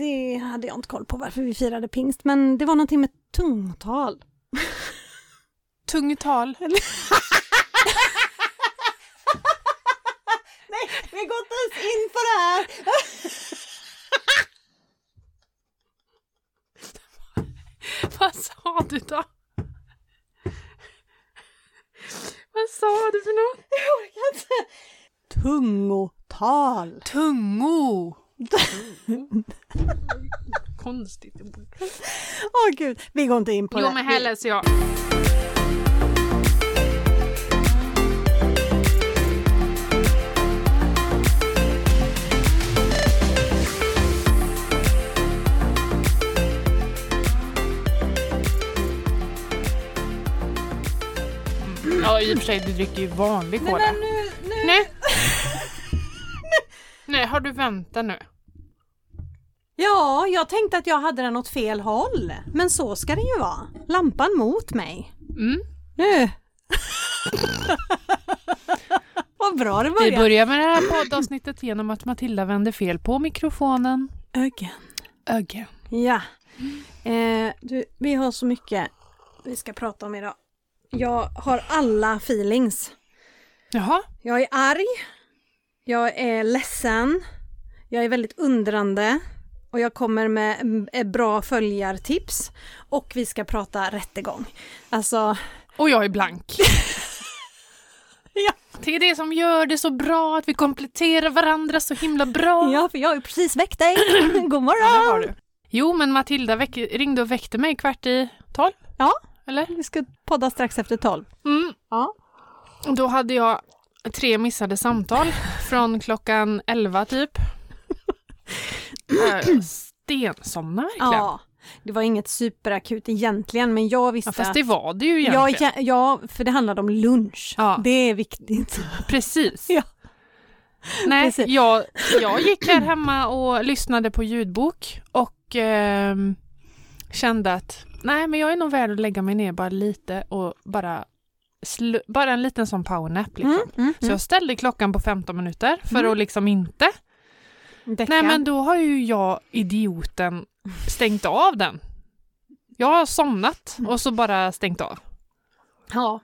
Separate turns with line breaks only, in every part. Det hade jag inte koll på varför vi firade pingst, men det var någonting med tungtal.
Tungtal.
Nej, vi går inte ens in på det här!
Vad sa du då? Vad sa du för något?
Tungotal!
Tungo. Konstigt ord.
Åh gud, vi går inte in på
Jo
det.
men här läser jag. Mm, Ja i och för sig, du dricker ju vanlig
Nej
cola.
men nu, nu...
Nej. Nej, har du väntat nu?
Ja, jag tänkte att jag hade den åt fel håll. Men så ska det ju vara. Lampan mot mig.
Mm.
Nu! Vad bra det
Vi
började.
börjar med det här poddavsnittet genom att Matilda vände fel på mikrofonen.
Ögen.
Öge.
Ja. Eh, du, vi har så mycket vi ska prata om idag. Jag har alla feelings.
Jaha.
Jag är arg. Jag är ledsen. Jag är väldigt undrande. Och jag kommer med mm, bra följartips. Och vi ska prata rättegång. Alltså,
Och jag är blank.
Ja.
Det är det som gör det så bra, att vi kompletterar varandra så himla bra.
ja för jag har ju precis väckt dig. God
Ja, det har
morgon!
du. Jo, men Matilda väck- ringde och väckte mig kvart i tolv.
Ja.
Eller?
Vi ska podda strax efter tolv.
Mm.
Ja.
Då hade jag tre missade samtal från klockan elva typ. Äh, Stensomna verkligen. Ja,
Ja. Det var inget superakut egentligen, men jag visste
fast
att-
det var det ju egentligen.
Ja, ja, ja, för det handlade om lunch.
Ja.
Det är viktigt.
Precis.
Ja.
Nej,
Precis.
Jag, jag gick här hemma och lyssnade på ljudbok och ehm, kände att nej, men jag är nog värd att lägga mig ner bara lite och bara, slu- bara en liten sån powernap liksom.
Mm, mm,
Så jag ställde klockan på 15 minuter för
Mm.
att liksom inte.
mm. Däcka.
Nej men då har ju jag, idioten, stängt av den. Jag har somnat
Mm.
och så bara stängt av.
ja.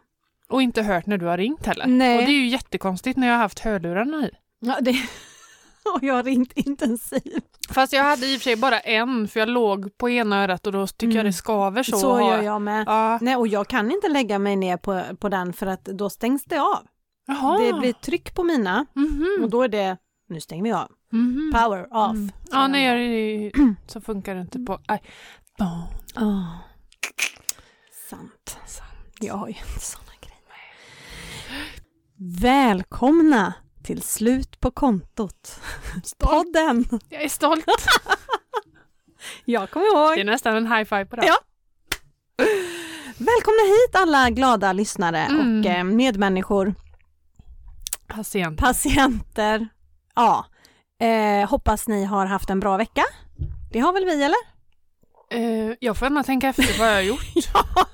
Och inte hört när du har ringt heller.
Nej.
Och det är ju jättekonstigt när jag har haft hörlurarna i.
ja det... Och jag har ringt intensiv.
Fast jag hade i och för sig bara en för jag låg på ena örat och då tycker
Mm.
jag det skaver så.
Så,
att ha-
gör jag med.
Ja.
Nej, och jag kan inte lägga mig ner på, på den för att då stängs det av.
Jaha.
Det blir tryck på mina
Mhm.
och då är det, nu stänger vi av.
Mhm.
Power off. Mm.
Mm. Ja, nej, jag, det- så funkar det inte på iPhone.
Oh. Sant.
Sant.
Jag har ju inte sådana grejer. Välkomna till Slut på kontot. Podden.
Jag är stolt.
Jag kommer ihåg.
Det är nästan en high five på det.
Ja. Välkomna hit alla glada lyssnare
Mm.
och eh, medmänniskor,
Patient.
patienter. Ja, eh, hoppas ni har haft en bra vecka. Det har väl vi eller?
Eh, jag får ändå tänka efter vad jag har gjort.
Ja,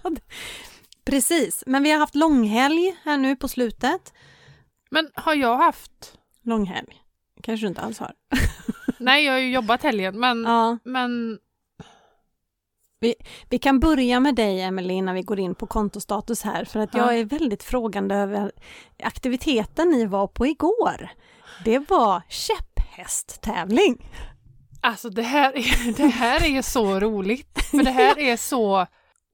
precis. Men vi har haft långhelg här nu på slutet.
Men har jag haft?
Långhelg kanske du inte alls har.
Nej, jag har ju jobbat helgen, men,
Ja,
men
vi kan börja med dig Emelie innan vi går in på kontostatus här för att
Ja.
jag är väldigt frågande över aktiviteten ni var på igår. Det var käpphästtävling.
alltså det här, är, det här är så roligt. För det här är så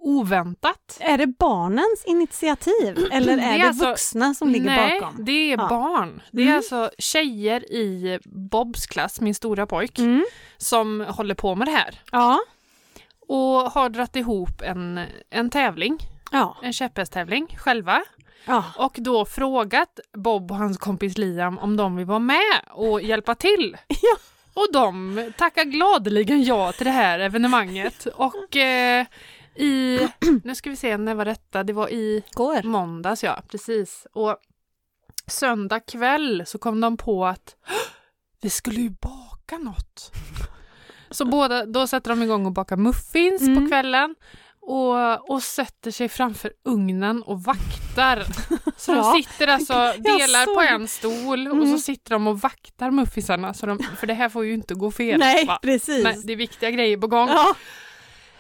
oväntat.
Är det barnens initiativ eller är det,
Det är alltså-
vuxna som ligger
Nej,
bakom?
det är
Ja.
barn. Det är
Mm.
alltså tjejer i Bobs klass, min stora pojk,
Mm.
som håller på med det här.
Ja.
Och har dratt ihop en, en tävling,
Ja.
en käpphästtävling, själva.
ja.
Och då frågat Bob och hans kompis Liam om de vill vara med och hjälpa till.
Ja.
Och de tackar gladeligen ja till det här evenemanget. Och eh, i, nu ska vi se, när var detta? Det var i
Går.
Måndags ja, precis. Och söndag kväll så kom de på att "Hå! vi skulle ju baka något. Så båda, då sätter de igång och bakar muffins
Mm.
på kvällen Och, och sätter sig framför ugnen och vaktar. Så
Ja.
de sitter alltså, delar
såg- Mm.
på en stol och så sitter de och vaktar muffisarna. Så de, för det här får ju inte gå fel.
Nej,
va?
precis.
Nej, det är viktiga grejer på gång.
Ja.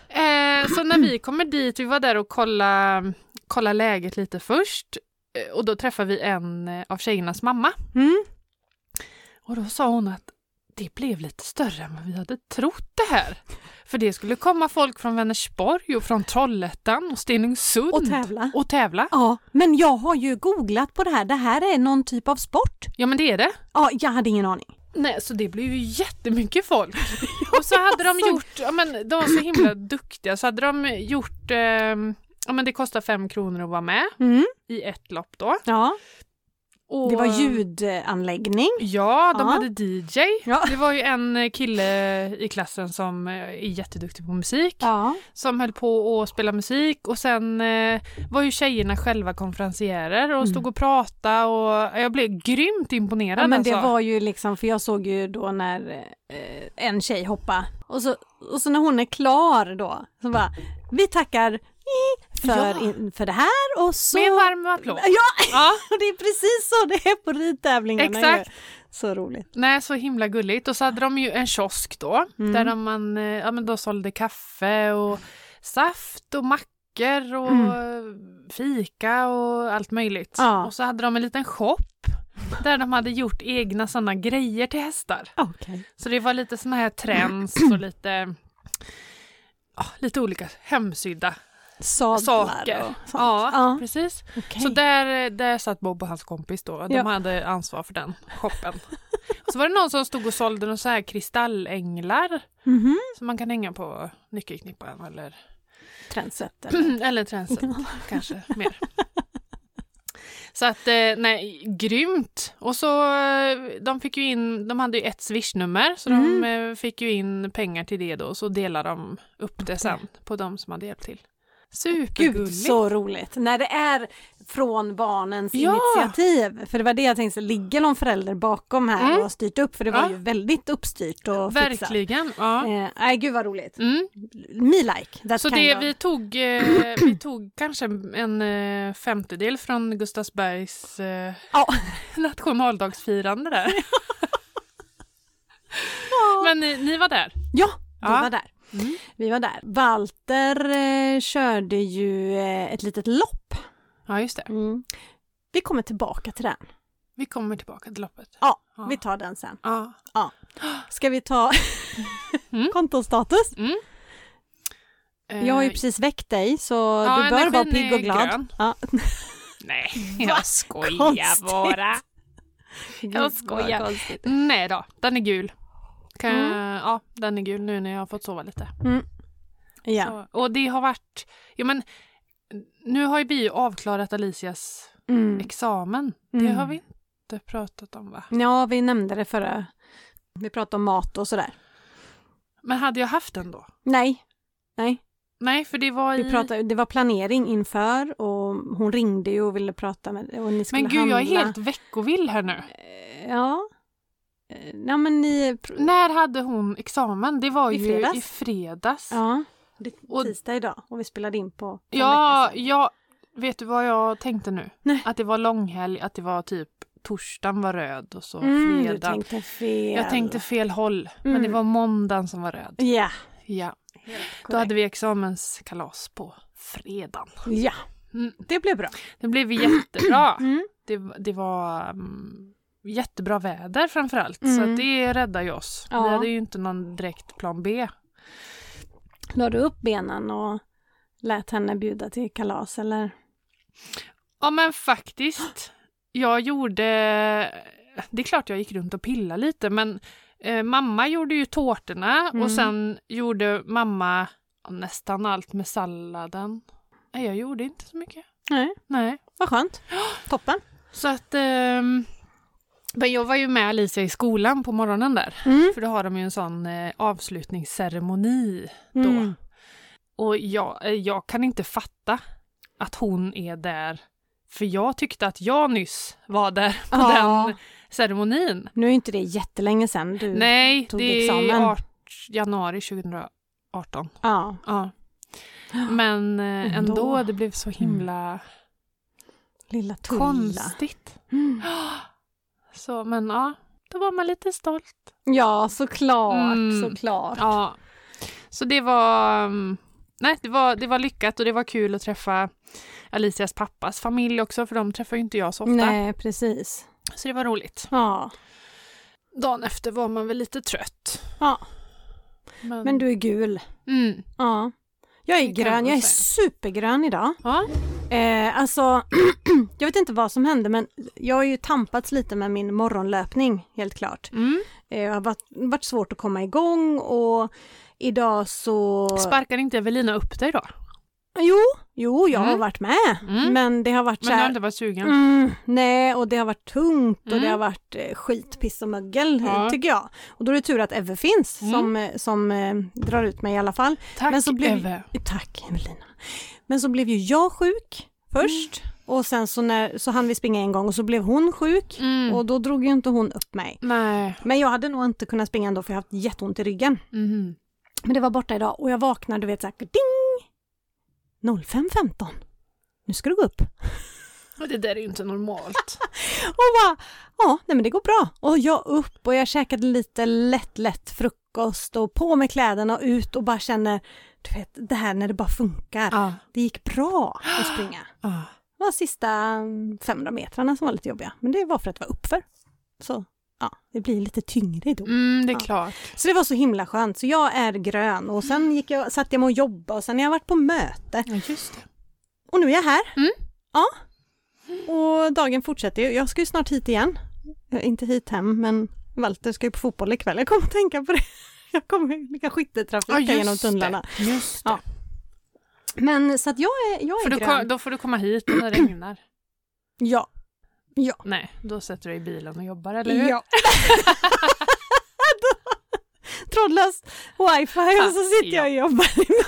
Eh, så när vi kommer dit, vi var där och kollade kolla läget lite först. Eh, Och då träffade vi en eh, av tjejernas mamma.
Mm.
Och då sa hon att det blev lite större än vad vi hade trott det här. För det skulle komma folk från Vänersborg och från Trollhättan och Stenungsund.
Och tävla.
Och tävla.
Ja, men jag har ju googlat på det här. Det här är någon typ av sport.
Ja men det är det.
Ja, jag hade ingen aning.
Nej, så det blev ju jättemycket folk. Och så hade de gjort, ja, men de var så himla duktiga, så hade de gjort, eh, ja men det kostar fem kronor att vara med
Mm.
i ett lopp då.
Ja,
Och,
det var ljudanläggning.
Ja, de
Ja.
hade DJ.
Ja.
Det var ju en eh, kille i klassen som eh, är jätteduktig på musik,
Ja.
som höll på att spela musik och sen eh, var ju tjejerna själva konferencierer och stod och pratade och jag blev grymt imponerad
Mm. Ja, men
alltså.
det var ju liksom, för jag såg ju då när eh, en tjej hoppa och så, och så när hon är klar då, så bara, vi tackar för,
Ja.
in, för det här och så...
Med en varm applåd.
Ja,
Ja.
det är precis så det är på ridtävlingarna ju.
Exakt.
Så roligt.
Nej, så himla gulligt. Och så hade de ju en kiosk då,
Mm.
där de man, eh, ja, men då sålde kaffe och saft och mackor och eh, fika och allt möjligt.
Mm. Ja.
Och så hade de en liten shop där de hade gjort egna sådana grejer till hästar.
Okej.
Så det var lite såna här träns och lite, ja, lite olika hemsydda
Sadlar
saker.
och sånt.
Ja,
Ja.
precis.
Okej.
Så där, där satt Bob och hans kompis då. De
Ja.
hade ansvar för den shoppen. och så var det någon som stod och sålde någon så här kristallänglar
Mhm.
som man kan hänga på nyckelknippan eller,
Trendsetter.
eller tränset kanske mer. Så att, eh, nej, grymt! Och så, eh, de fick ju in, de hade ju ett swishnummer så de eh, fick ju in pengar till det då och så delade de upp det sen på de som hade hjälpt till.
Gud
Supergulligt!
så roligt! När det är från barnens
Ja.
initiativ. För det var det jag tänkte, så ligger någon förälder bakom här
Mm.
och har styrt upp? För det var
Ja.
ju väldigt uppstyrt och fixat.
Verkligen! Ja.
Eh, nej, gud vad roligt.
Mm.
Me like, that
Så
kind
det,
of.
vi, tog, eh, vi tog kanske en eh, femtedel från Gustavsbergs eh,
Ja.
nationaldagsfirande där. Men ni, ni var där?
Ja, vi
Ja.
var där.
Mm.
Vi var där. Walter eh, körde ju eh, ett litet lopp.
Ja, just det.
Vi kommer tillbaka till den.
Vi kommer tillbaka till loppet.
Ja,
Ja.
vi tar den sen.
Ja.
Ska vi ta
Mm.
kontostatus?
Eh,
Jag har ju precis väckt dig så du bör
energin
vara pigg
är
och glad.
grön.
Ja.
Nej,
Va?
jag skojar
Konstigt.
bara.
Gud,
Jag
Mm, vad
skojar.
konstigt.
Nej då, den är gul. Kan jag,
Mm.
Ja, den är gul nu när jag har fått sova lite.
Ja.
Så, och det har varit, ja men nu har ju vi ju avklarat Alicias
Mm.
examen. Det
Mm.
har vi inte pratat om va?
ja, vi nämnde det förra. Vi pratade om mat och sådär.
Men hade jag haft den då?
Nej, nej.
Nej, för det var i...
Vi pratade, det var planering inför och hon ringde ju och ville prata med dig och ni skulle
men gud,
handla.
jag är helt veckovill här nu.
Eh, Ja. Eh, Nej men ni... pr-
När hade hon examen? Det var
I
ju
fredags.
i fredags. Ja,
Ja. Det är
Och-
tisdag idag och vi spelade in på... på
ja,
veckan sedan.
jag... Vet du vad jag tänkte nu?
Nej.
Att det var långhelg, att det var typ torsdagen var röd och så
Mm, du
fredag.
tänkte fel.
Jag tänkte fel håll, men
Mm.
det var måndagen som var röd.
Ja.
Ja, då hade vi examenskalas på fredagen.
Ja.
Mm.
Det blev bra.
Det blev jättebra.
Mm.
det, det var mm, jättebra väder framförallt. Så
Mm.
att det räddade ju oss.
Ja.
Vi hade ju inte någon direkt plan B.
La du upp benen och lät henne bjuda till kalas eller?
Ja men faktiskt. Jag gjorde... Det är klart jag gick runt och pillade lite men eh, mamma gjorde ju tårtorna
Mm.
och sen gjorde mamma nästan allt med salladen. Nej, jag gjorde inte så mycket.
Nej.
Nej.
Vad skönt. Toppen.
Så att... ehm, men jag var ju med Alicia i skolan på morgonen där.
Mm,
För då har de ju en sån eh, avslutningsceremoni då.
Mm.
Och jag, eh, jag kan inte fatta att hon är där. För jag tyckte att jag nyss var där på
Ja.
den ceremonin.
Nu är inte det jättelänge sedan du...
Nej,
tog
det är
examen.
art, januari 2018.
Ja.
Ja. Men eh,
Ändå.
ändå, det blev så himla
Lilla Tulla.
konstigt.
Mm.
Så, men ja, då var man lite stolt.
Ja, såklart,
Mm.
såklart.
Ja. Så det var, mm, nej, det var, det var lyckat och det var kul att träffa Alicias pappas familj också, för de träffar ju inte jag så ofta.
Nej, precis.
Så det var roligt.
Ja.
Dagen efter var man väl lite trött.
ja, men du är gul.
Mm.
Ja. Jag är
Det kan
grön,
man
jag är
säga.
supergrön idag.
Ja.
Eh, alltså, jag vet inte vad som hände men jag har ju tampats lite med min morgonlöpning helt klart.
Mm.
Eh, det har varit, varit svårt att komma igång och idag så...
Sparkade inte Evelina upp dig då?
jo, jo, jag har
Mm.
varit med.
Mm.
Men det har varit så
Men du har
här...
inte varit sugen?
Mm, nej, och det har varit tungt och
Mm.
det har varit eh, skit, piss och mögel
Ja.
tycker jag. Och då är det tur att Eve finns
Mm.
som, eh, som eh, drar ut mig i alla fall.
Tack
men så blev-
Eve.
Tack Evelina. Men så blev ju jag sjuk först
Mm.
och sen så, när, så hann vi springa en gång och så blev hon sjuk
Mm.
och då drog ju inte hon upp mig.
Nej.
Men jag hade nog inte kunnat springa ändå för jag har haft jätteont i ryggen.
Mhm.
Men det var borta idag och jag vaknade du vet såhär ding! 05.15. Nu ska du gå upp.
Och Det där är ju inte normalt.
Och bara, ja, nej men det går bra. Och jag upp och jag käkade lite lätt, lätt frukost och på med kläderna och ut och bara känner, du vet, det här när det bara funkar.
ah.
Det gick bra att springa.
Ah.
Det var sista mm, 500 metrarna som var lite jobbiga, men det var för att det var uppför. Så ja, det blir lite tyngre då.
Mm, det är
Ja.
klart.
Så det var så himla skönt, så jag är grön och sen gick jag, satt jag mig och jobbade och sen har jag varit på möte
Ja, just det.
och nu är jag här.
Mm.
Ja. Och dagen fortsätter ju. Jag ska ju snart hit igen. Eh, Inte hit hem, men Walter ska ju på fotboll ikväll. Jag kommer att tänka på det. Jag kommer ju ligga skytteltrafik här genom tunnlarna.
det. Just det.
Ja, Men så att jag är, jag
Får
är
du, ko-
grön.
då får du komma hit när det regnar.
Ja. Ja.
Nej, då sätter du dig i bilen och jobbar, eller hur?
ja. Trådlöst wifi och så sitter jag och jobbar i bilen.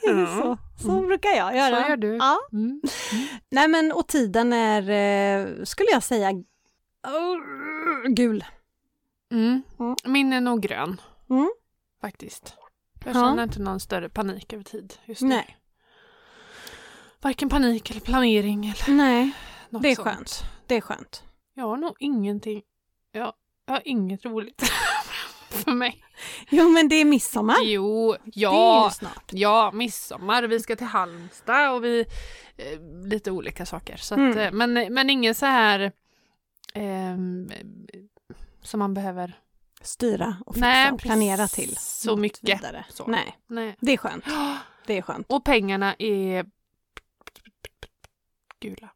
Det är
Ja.
Så, Mm. så brukar jag göra.
Så gör du.
Ja.
Mm.
Nej men och tiden är, eh, skulle jag säga, eh, gul.
Mm.
Mm.
Min är nog grön,
Mm.
faktiskt. Jag
Ja.
känner inte någon större panik över tid just nu.
Nej.
Varken panik eller planering eller
Nej,
något
det är
sånt.
skönt. Det är skönt.
Jag har nog ingenting. Jag, jag har inget roligt för mig.
Jo men det är midsommar.
Jo,
Det är ju
ja,
snart.
ja, midsommar, vi ska till Halmstad och vi, eh, lite olika saker. Så att,
Mm.
eh, men, men ingen så här eh, som man behöver
Styra och fixa
Nej,
och planera
precis.
till.
Så
Och
mycket.
vidare.
Så.
Nej,
Nej.
det är skönt. Det är skönt.
Och pengarna är gula.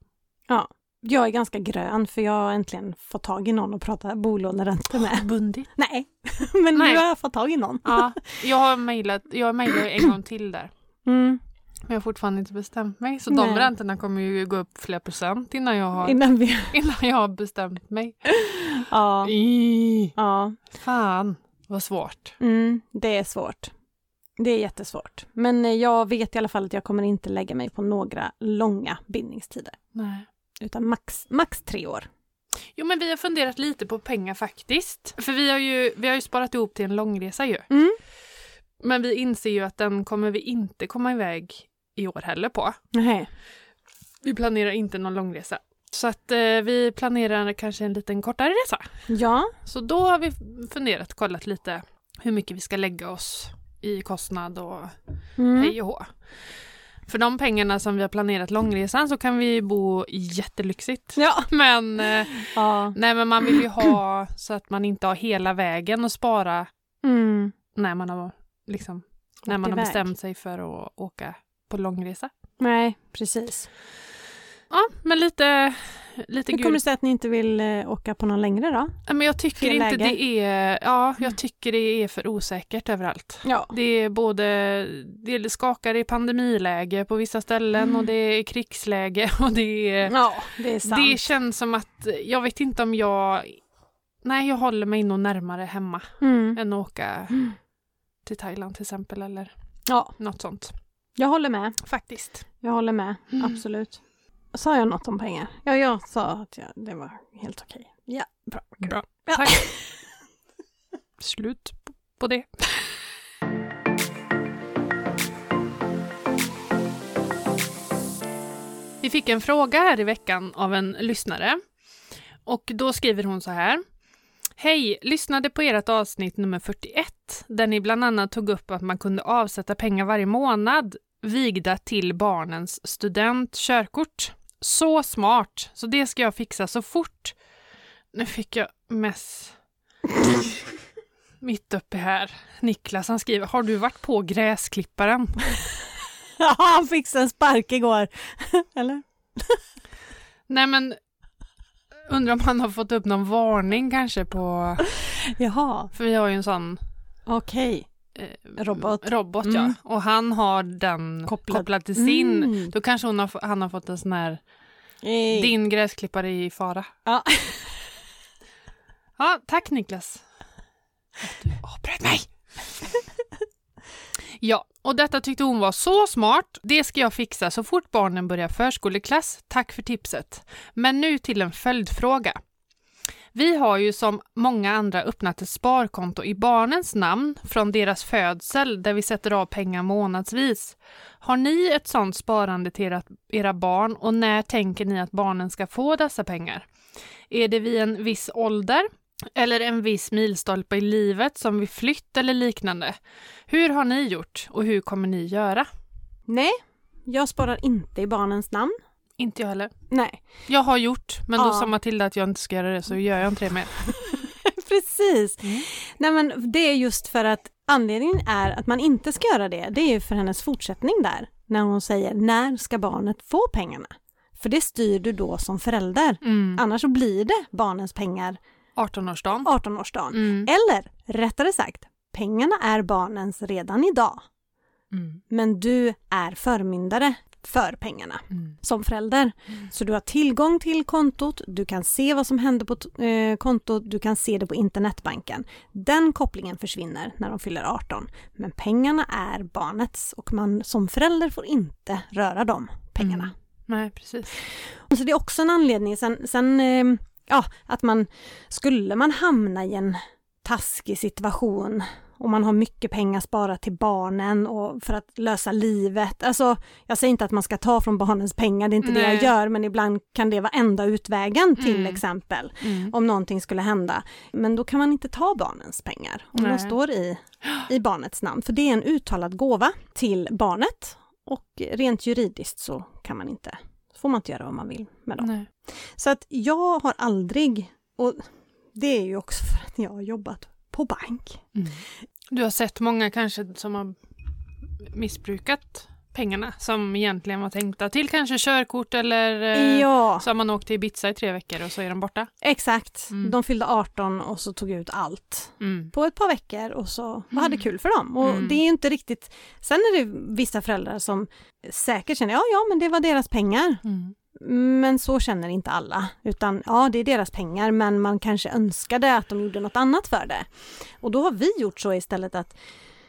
Jag är ganska grön för jag har äntligen fått tag i någon att prata bolåneräntor med.
Bundit.
Nej, men
Nej.
nu har jag fått tag i någon.
Ja, jag har mejlat, jag mejlade en gång till där.
Mm.
Men jag har fortfarande inte bestämt mig. Så
Nej.
de räntorna kommer ju gå upp flera procent innan jag har,
Innan vi...
innan jag har bestämt mig.
Ja.
I.
ja.
Fan, vad svårt.
Mm, det är svårt. Det är jättesvårt. Men eh, jag vet i alla fall att jag kommer inte lägga mig på några långa bindningstider.
Nej.
Utan max, max tre år.
Jo men vi har funderat lite på pengar faktiskt. För vi har ju, vi har ju sparat ihop till en långresa ju.
Mm.
Men vi inser ju att den kommer vi inte komma iväg i år heller på.
Nej.
Vi planerar inte någon långresa. Så att eh, vi planerar kanske en liten kortare resa.
Ja.
Så då har vi funderat, kollat lite hur mycket vi ska lägga oss i kostnad och
Mm.
hej och hå. För de pengarna som vi har planerat långresan så kan vi ju bo jättelyxigt.
Ja.
Men, eh,
ja.
nej, men man vill ju ha så att man inte har hela vägen och spara
Mm.
när man har, liksom, när
Åkt
man har
iväg.
bestämt sig för att åka på långresa.
Nej, precis.
Ja, men lite, lite
Hur
gul
kommer det sig att ni inte vill eh, åka på någon längre då?
Ja, Men jag tycker
Fel
inte
läge. Mm.
det är... Ja, jag tycker det är för osäkert överallt.
Ja.
Det är både... Det skakar i pandemiläge på vissa ställen
Mm.
och det är krigsläge och det är...
Ja, det är sant.
Eh, Det känns som att... Jag vet inte om jag... Nej, jag håller mig nog närmare hemma
Mm.
än att åka
Mm.
till Thailand till exempel eller
Ja,
något sånt.
jag håller med.
Faktiskt.
Jag håller med,
Mm.
absolut. Sa jag något om pengar? Ja, jag sa att jag, det var helt okej. Ja, bra.
Mm. Bra.
Ja.
Tack. Slut på det. Vi fick en fråga här i veckan av en lyssnare. Och då skriver hon så här. Hej! Lyssnade på ert avsnitt nummer 41 där ni bland annat tog upp att man kunde avsätta pengar varje månad vigda till barnens student körkort. Så smart! Så det ska jag fixa så fort. Nu fick jag mess. Mitt uppe här. Niklas han skriver, har du varit på gräsklipparen?
Ja, han fixade en spark igår. Eller?
Nej men, undrar om han har fått upp någon varning kanske på...
Jaha,
För vi har ju en sån
okej.
eh,
Robot.
robot ja.
Mm.
Och han har den kopplad,
Kopplad.
till sin.
Mm.
Då kanske hon har, f- han har fått en sån här,
Eh,
din gräsklippare är i fara.
Ja.
Ja, tack Niklas. Att du avbröt mig. Ja, och detta tyckte hon var så smart. Det ska jag fixa så fort barnen börjar förskoleklass. Tack för tipset. Men nu till en följdfråga. Vi har ju som många andra öppnat ett sparkonto i barnens namn från deras födsel där vi sätter av pengar månadsvis. Har ni ett sådant sparande till era, era barn och när tänker ni att barnen ska få dessa pengar? Är det vid en viss ålder eller en viss milstolpe i livet som vid flytt eller liknande? Hur har ni gjort och hur kommer ni göra?
Nej, jag sparar inte i barnens namn.
Inte jag heller.
Nej,
Jag har gjort, men då
Ja.
sa Matilda att jag inte ska göra det så gör jag inte det mer.
precis.
Mm.
Nej, men det är just för att anledningen är att man inte ska göra det. Det är ju för hennes fortsättning där, när hon säger när ska barnet få pengarna? För det styr du då som förälder.
Mm.
Annars så blir det barnens pengar
18-årsdagen.
18-årsdagen.
Mm.
Eller rättare sagt, pengarna är barnens redan idag.
Mm.
Men du är förmyndare för pengarna
Mm.
som förälder. Så du har tillgång till kontot, du kan se vad som händer på t- eh, kontot, du kan se det på internetbanken. Den kopplingen försvinner när de fyller 18. Men pengarna är barnets och man som förälder får inte röra de pengarna.
Mm. Nej, precis.
Så Alltså, det är också en anledning. Sen, sen eh, ja, att man skulle man hamna i en taskig situation och man har mycket pengar sparat till barnen och för att lösa livet. Alltså, jag säger inte att man ska ta från barnens pengar, det är inte det
Nej.
jag gör, men ibland kan det vara enda utvägen till
Mm.
exempel
Mm.
om någonting skulle hända. Men då kan man inte ta barnens pengar om
Nej.
de står i, i barnets namn, för det är en uttalad gåva till barnet och rent juridiskt så kan man inte, får man inte göra vad man vill med dem.
Nej.
Så att jag har aldrig, och det är ju också för att jag har jobbat på bank.
Mm. Du har sett många kanske som har missbrukat pengarna som egentligen var tänkta till kanske körkort eller eh,
Ja,
så har man åkt till Ibiza i tre veckor och så är de borta.
exakt.
Mm.
De fyllde 18 och så tog jag ut allt
Mm.
på ett par veckor och så och hade kul för dem. Och
Mm.
det är ju inte riktigt, sen är det vissa föräldrar som säkert känner, ja ja men det var deras pengar.
Mm.
Men så känner inte alla, utan ja det är deras pengar men man kanske önskade att de gjorde något annat för det. Och då har vi gjort så istället att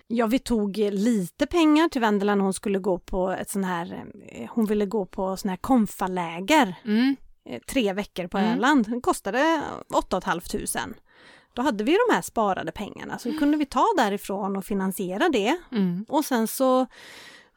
ja vi tog lite pengar till Vendela när hon skulle gå på ett sån här, eh, hon ville gå på sån här konfaläger
Mm.
eh, tre veckor på
Mm.
Öland. Den kostade 8 500. Då hade vi de här sparade pengarna så kunde vi ta därifrån och finansiera det.
Mm.
Och sen så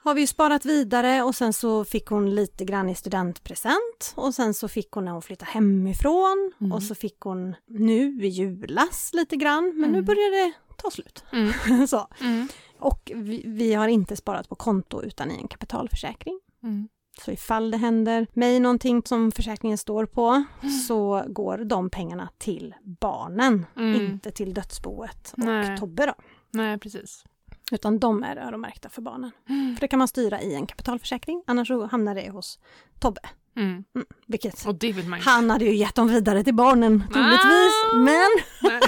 har vi ju sparat vidare och sen så fick hon lite grann i studentpresent och sen så fick hon när hon flyttade hemifrån
Mm.
och så fick hon nu i julas lite grann men nu
Mm.
börjar det ta slut.
Mm.
så.
Mm.
Och vi, vi har inte sparat på konto utan i en kapitalförsäkring.
Mm.
Så ifall det händer mig någonting som försäkringen står på så går de pengarna till barnen,
Mm.
inte till dödsboet och
Nej.
Tobbe då.
Nej, precis.
Utan de är öronmärkta för barnen.
Mm.
För det kan man styra i en kapitalförsäkring, annars så hamnar det hos Tobbe.
Mm.
Vilket
Och det vill man ju
han hade ju gett dem vidare till barnen troligtvis.
Ah!
Men,
Nej.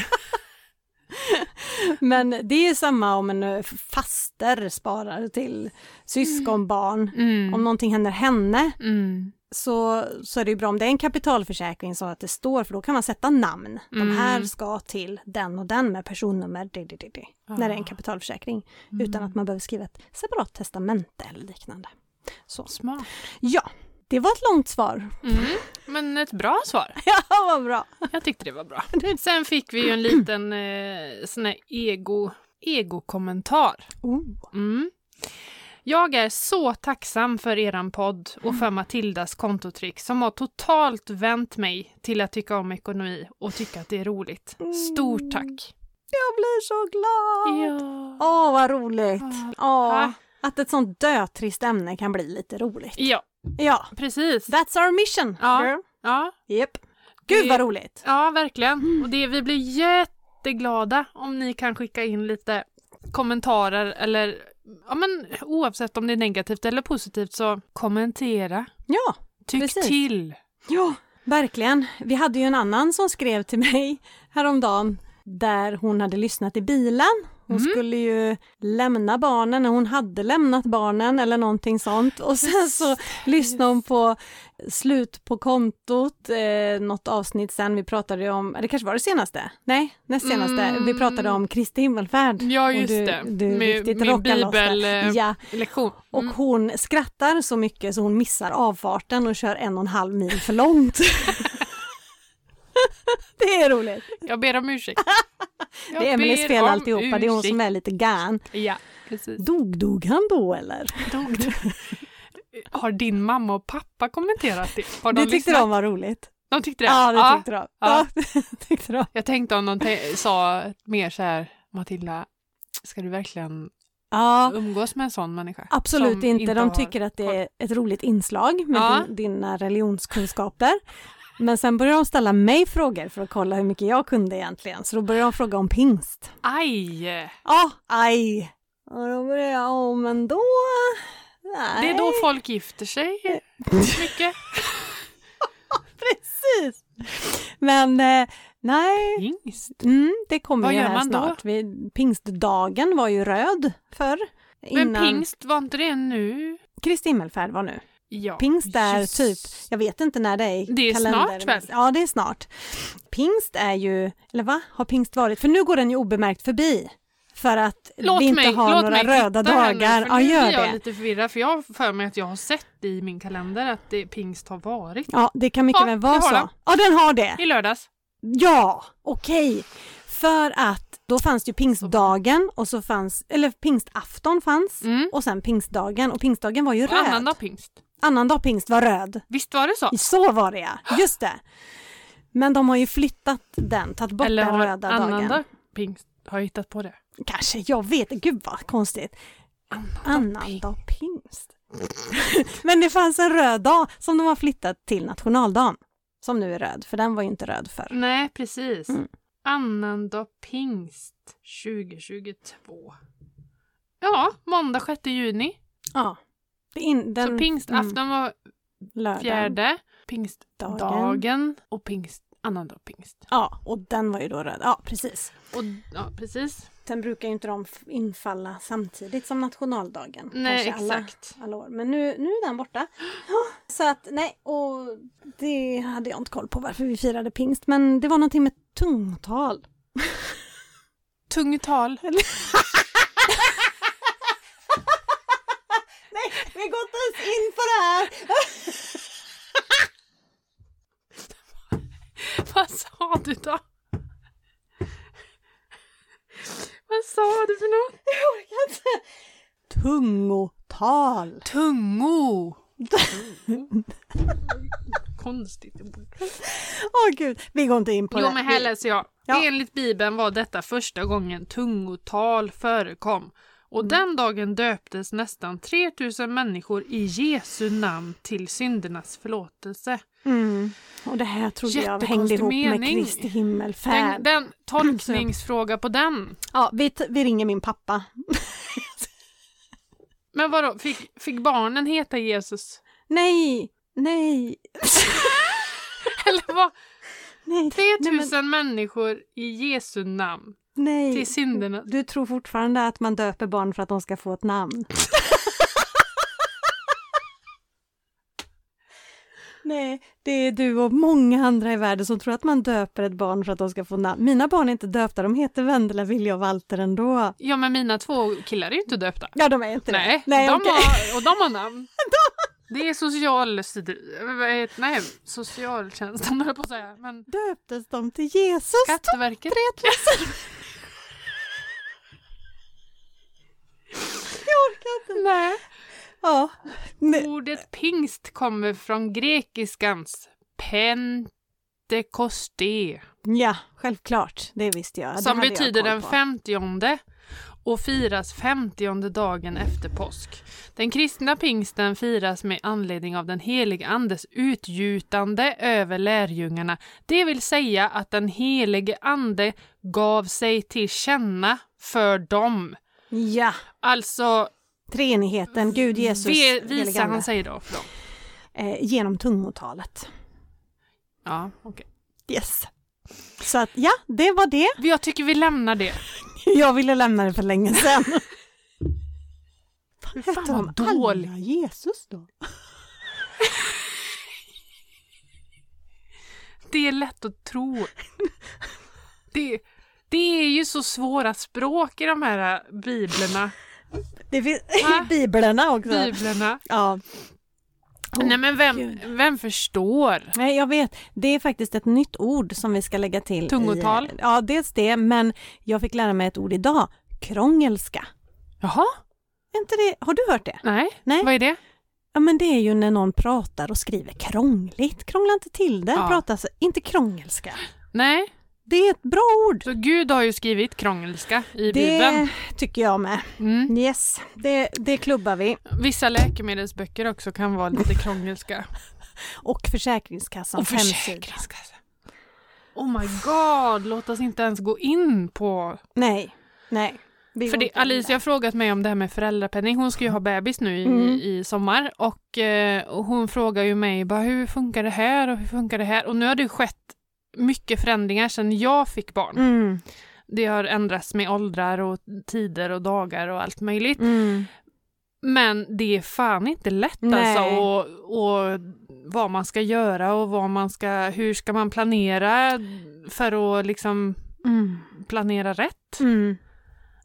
men det är ju samma om en eh, faster sparar till syskonbarn.
Mm.
Om någonting händer henne
Mm.
så, så är det ju bra om det är en kapitalförsäkring så att det står, för då kan man sätta namn.
Mm.
De här ska till den och den med personnummer, det, det, det, det, när
Ah.
det är en kapitalförsäkring. Utan
Mm.
att man behöver skriva ett separat testamente eller liknande.
Smart.
Ja, det var ett långt svar.
Mm. Men ett bra svar.
Ja, vad bra.
Jag tyckte det var bra. Sen fick vi ju en liten eh, sån här ego, ego-kommentar.
Oh.
Mm. Jag är så tacksam för eran podd och för Matildas kontotrick som har totalt vänt mig till att tycka om ekonomi och tycka att det är roligt. Stort tack!
Jag blir så glad!
Mm. Ja. Ah.
Åh, vad roligt! Åh,
Ha.
att ett sånt dötrist ämne kan bli lite roligt.
ja,
Ja,
precis.
that's our mission,
Ja.
girl.
Ja,
Yep. Gud vad
Det-
roligt!
ja verkligen. Och det, vi blir jätteglada om ni kan skicka in lite kommentarer eller ja, men, oavsett om det är negativt eller positivt så kommentera.
Ja,
Tyck
Precis.
till!
ja, verkligen. Vi hade ju en annan som skrev till mig häromdagen där hon hade lyssnat i bilen. Hon
Mhm.
skulle ju lämna barnen, när hon hade lämnat barnen eller någonting sånt och sen så lyssnade hon på slut på kontot, eh, något avsnitt sen vi pratade ju om, det kanske var det senaste? Nej, näst senaste.
Mm.
Vi pratade om Kristi himmelfärd.
Ja,
Och
just
du,
det.
Du
Med-
riktigt
med
rockar loss där.
bibel, eh,
Ja,
Lektion.
Och
Mm.
hon skrattar så mycket så hon missar avfarten och kör en och en halv mil för långt. det är roligt.
Jag ber om ursäkt. Jag
det är Emelies
ber
fel
om
alltihopa, det är hon som
ursäkt.
är lite gärn.
Ja, precis.
Dog, dog han då eller?
Dog du? Har din mamma och pappa kommenterat det? Har de
det tyckte
lyssnat?
de var roligt.
de? tyckte det?
Ja, det
Ja.
tyckte de. Ja,
ja.
det tyckte de.
Jag tänkte om de te- sa mer så här, Matilda, ska du verkligen
Ja,
umgås med en sån människa?
absolut
Som
inte. De
har-
tycker att det är ett roligt inslag med
Ja.
din, dina religionskunskaper. Men sen började de ställa mig frågor för att kolla hur mycket jag kunde egentligen. Så då började de fråga om pingst.
Aj!
Ja, aj. Och då började jag om ändå. Nej.
Det är då folk gifter sig mycket.
Precis. Men eh, nej,
Pingst.
mm, det kommer
Vad
ju
gör
här
man då?
snart. Vi, pingstdagen var ju röd förr.
Men
innan
pingst, var inte det nu?
Kristi himmelfärd var nu.
Ja.
Pingst är
just-
typ, jag vet inte när det är. i
Det är
kalendern,
snart
men-
väl?
Ja, det är snart. Pingst är ju, eller va? Har pingst varit? För nu går den ju obemärkt förbi. För att
Låt
vi inte
mig,
har
låt
några
mig
röda
titta här
dagar.
Nu, för
Ja,
nu
gör
blir jag
det.
lite förvirrad för jag har för mig att jag har sett i min kalender att det, pingst har varit.
Ja, det kan mycket
Ja,
väl
det
vara
har
så.
den.
Ja, den har det.
I lördags.
Ja, okej. För att då fanns ju pingstdagen och så fanns, eller pingstafton fanns
Mm.
och sen pingstdagen och pingstdagen var ju
Och
röd.
annandag pingst.
Annandag pingst var röd.
Visst var det så?
Så var det ja, just det. Men de har ju flyttat den, tagit bort
Eller
den
har
röda dagen.
annandag pingst har jag hittat på det?
Kanske, jag vet Gud vad konstigt. Annandag pingst. Men det fanns en röd dag som de har flyttat till nationaldagen. Som nu är röd, för den var ju inte röd förr.
Nej, precis.
Mm.
Annandag pingst 2022. Ja, måndag 6 juni.
Ja. Det in, den, mm,
så pingstafton var
lördagen.
fjärde, pingstdagen och pingst, annandag pingst.
Ja, och den var ju då röd. Ja, precis.
Och, ja, precis.
Sen brukar ju inte de f- infalla samtidigt som nationaldagen.
Nej,
Kanske alla-
exakt.
Alla år. Men nu, nu är den borta. Ja, Så att nej, och det hade jag inte koll på varför vi firade pingst. Men det var någonting med tungtal.
Tungtal.
Nej, vi går inte ens in på det här!
Vad sa du då? Vad sa du för något?
Tungotal.
Tungo. Konstigt ord.
Åh gud, vi går inte in på det.
Jo men här läser jag.
Ja.
Enligt Bibeln var detta första gången tungotal förekom. Och
Mm.
den dagen döptes nästan 3000 människor i Jesu namn till syndernas förlåtelse.
Mm. Och det här trodde jag
Jättekonstig
hängde ihop med
mening.
Kristi himmelfärd.
Den, den tolkningsfråga på den.
Ja, vi, t- vi ringer min pappa.
Men vadå, fick, fick barnen heta Jesus?
Nej, nej,
Eller vad?
nej. Nej,
3000
men-
människor i Jesu namn
nej.
till synderna.
Du tror fortfarande att man döper barn för att de ska få ett namn? Nej, det är du och många andra i världen som tror att man döper ett barn för att de ska få namn. Mina barn är inte döpta, de heter Vendela, Vilja och Walter ändå.
Ja men mina två killar är ju inte döpta.
Ja, de är inte
Nej,
det. Nej,
de
okej.
har, och de har namn. Det är social... vad heter- Nej, socialtjänsten höll jag på att säga. Men
Döptes de till Jesus?
Skatteverket.
Jag orkar inte.
Nej.
Ja. Ne-
Ordet pingst kommer från grekiskans pentekoste,
Ja, självklart. Det visste jag. Det
som
hade jag
betyder
koll
den
på.
femtionde och firas femtionde dagen efter påsk. Den kristna pingsten firas med anledning av den helige Andes utgjutande över lärjungarna, det vill säga att den helige Ande gav sig till känna för dem.
Ja,
Alltså,
treenigheten, Gud, Jesus,
ve-
helige
visar
Ande.
han sig då för dem.
eh, genom tungotalet.
Ja, okej.
Yes. Så att ja, det var det.
Jag tycker vi lämnar det.
Jag ville lämna det för länge sedan.
Fy fan
Hette
vad
de
dålig.
alla Jesus då?
Det är lätt att tro. Det, det är ju så svåra språk i de här äh, biblerna.
Det finns
Va?
i biblerna också.
biblerna.
Ja. Åh,
Nej men vem,
gud.
vem förstår?
Nej, jag vet. Det är faktiskt ett nytt ord som vi ska lägga till. i-
Tungotal.
ja, dels det, men jag fick lära mig ett ord idag. Krångelska.
Jaha?
Är inte det, har du hört det?
Nej.
Nej.
Vad är det?
Ja, men det är ju när någon pratar och skriver krångligt. Krångla inte till det.
Ja.
Prata så- inte krångelska.
Nej.
Det är ett bra ord.
Så Gud har ju skrivit krångelska i
Det
bibeln.
tycker jag med.
Mm.
Yes, det, det klubbar vi.
Vissa läkemedelsböcker också kan vara lite krångelska.
Och Försäkringskassans hemsida.
Försäkringskassan. Oh my god, låt oss inte ens gå in på
Nej, nej. Vi
För
går
det,
inte
Alicia har frågat mig om det här med föräldrapenning. Hon ska ju ha bebis nu i,
Mm.
i sommar och, eh, och hon frågar ju mig bara, hur funkar det här och hur funkar det här? Och nu har det ju skett mycket förändringar sedan jag fick barn.
vidare. Mm,
Det har ändrats med åldrar och tider och dagar och allt möjligt.
mm.
Men det är fan inte lätt
Nej.
alltså. Och, och vad man ska göra och vad man ska, hur ska man planera för att liksom
Mm.
planera rätt?
Mm.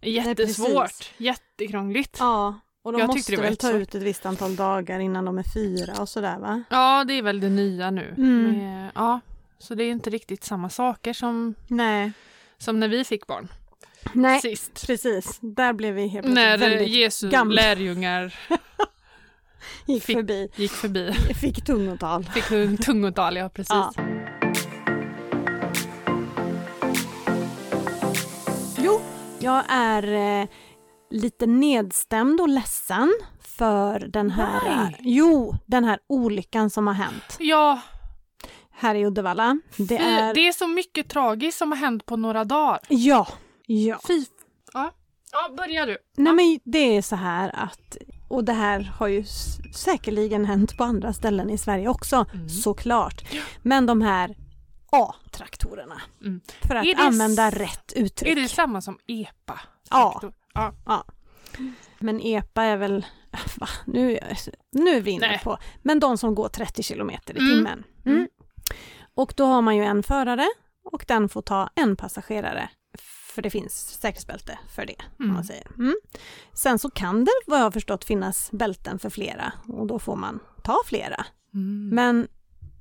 precis.
Jättesvårt, jättekrångligt.
Ja, och de
Jag tyckte
måste
det var
väl ta
jättesvårt.
ut ett visst antal dagar innan de är fyra och sådär va?
Ja, det är väl det nya nu.
Mm.
Med, ja, så det är inte riktigt samma saker som,
Nej.
som när vi fick barn
Nej,
sist.
precis. Där blev vi helt plötsligt
När eh,
väldigt...
Jesu
gamla.
lärjungar
gick
fick-
förbi.
gick förbi.
Fick tungotal.
Fick en tungotal, ja precis.
Ja. Jo, jag är eh, lite nedstämd och ledsen för den här,
Nej.
jo, den här olyckan som har hänt
Ja,
här i Uddevalla. Det
fy,
är,
det är så mycket tragiskt som har hänt på några dagar.
ja, ja.
Fy, ja. ja, börja du.
Nej men det är så här att, och det här har ju s- säkerligen hänt på andra ställen i Sverige också,
Mm.
såklart. Men de här A-traktorerna,
Mm.
för att
Är det s-
använda rätt uttryck.
Är det samma som EPA?
Ja.
ja.
Men EPA är väl, va, nu, är jag- nu är vi inne
Nej.
på, men de som går 30 kilometer i
Mm.
timmen. Mm.
Mm.
Och då har man ju en förare och den får ta en passagerare. För det finns säkerhetsbälte för det. Om
Mm.
man säger. Mm. Sen så kan det, vad jag har förstått, finnas bälten för flera och då får man ta flera.
Mm.
Men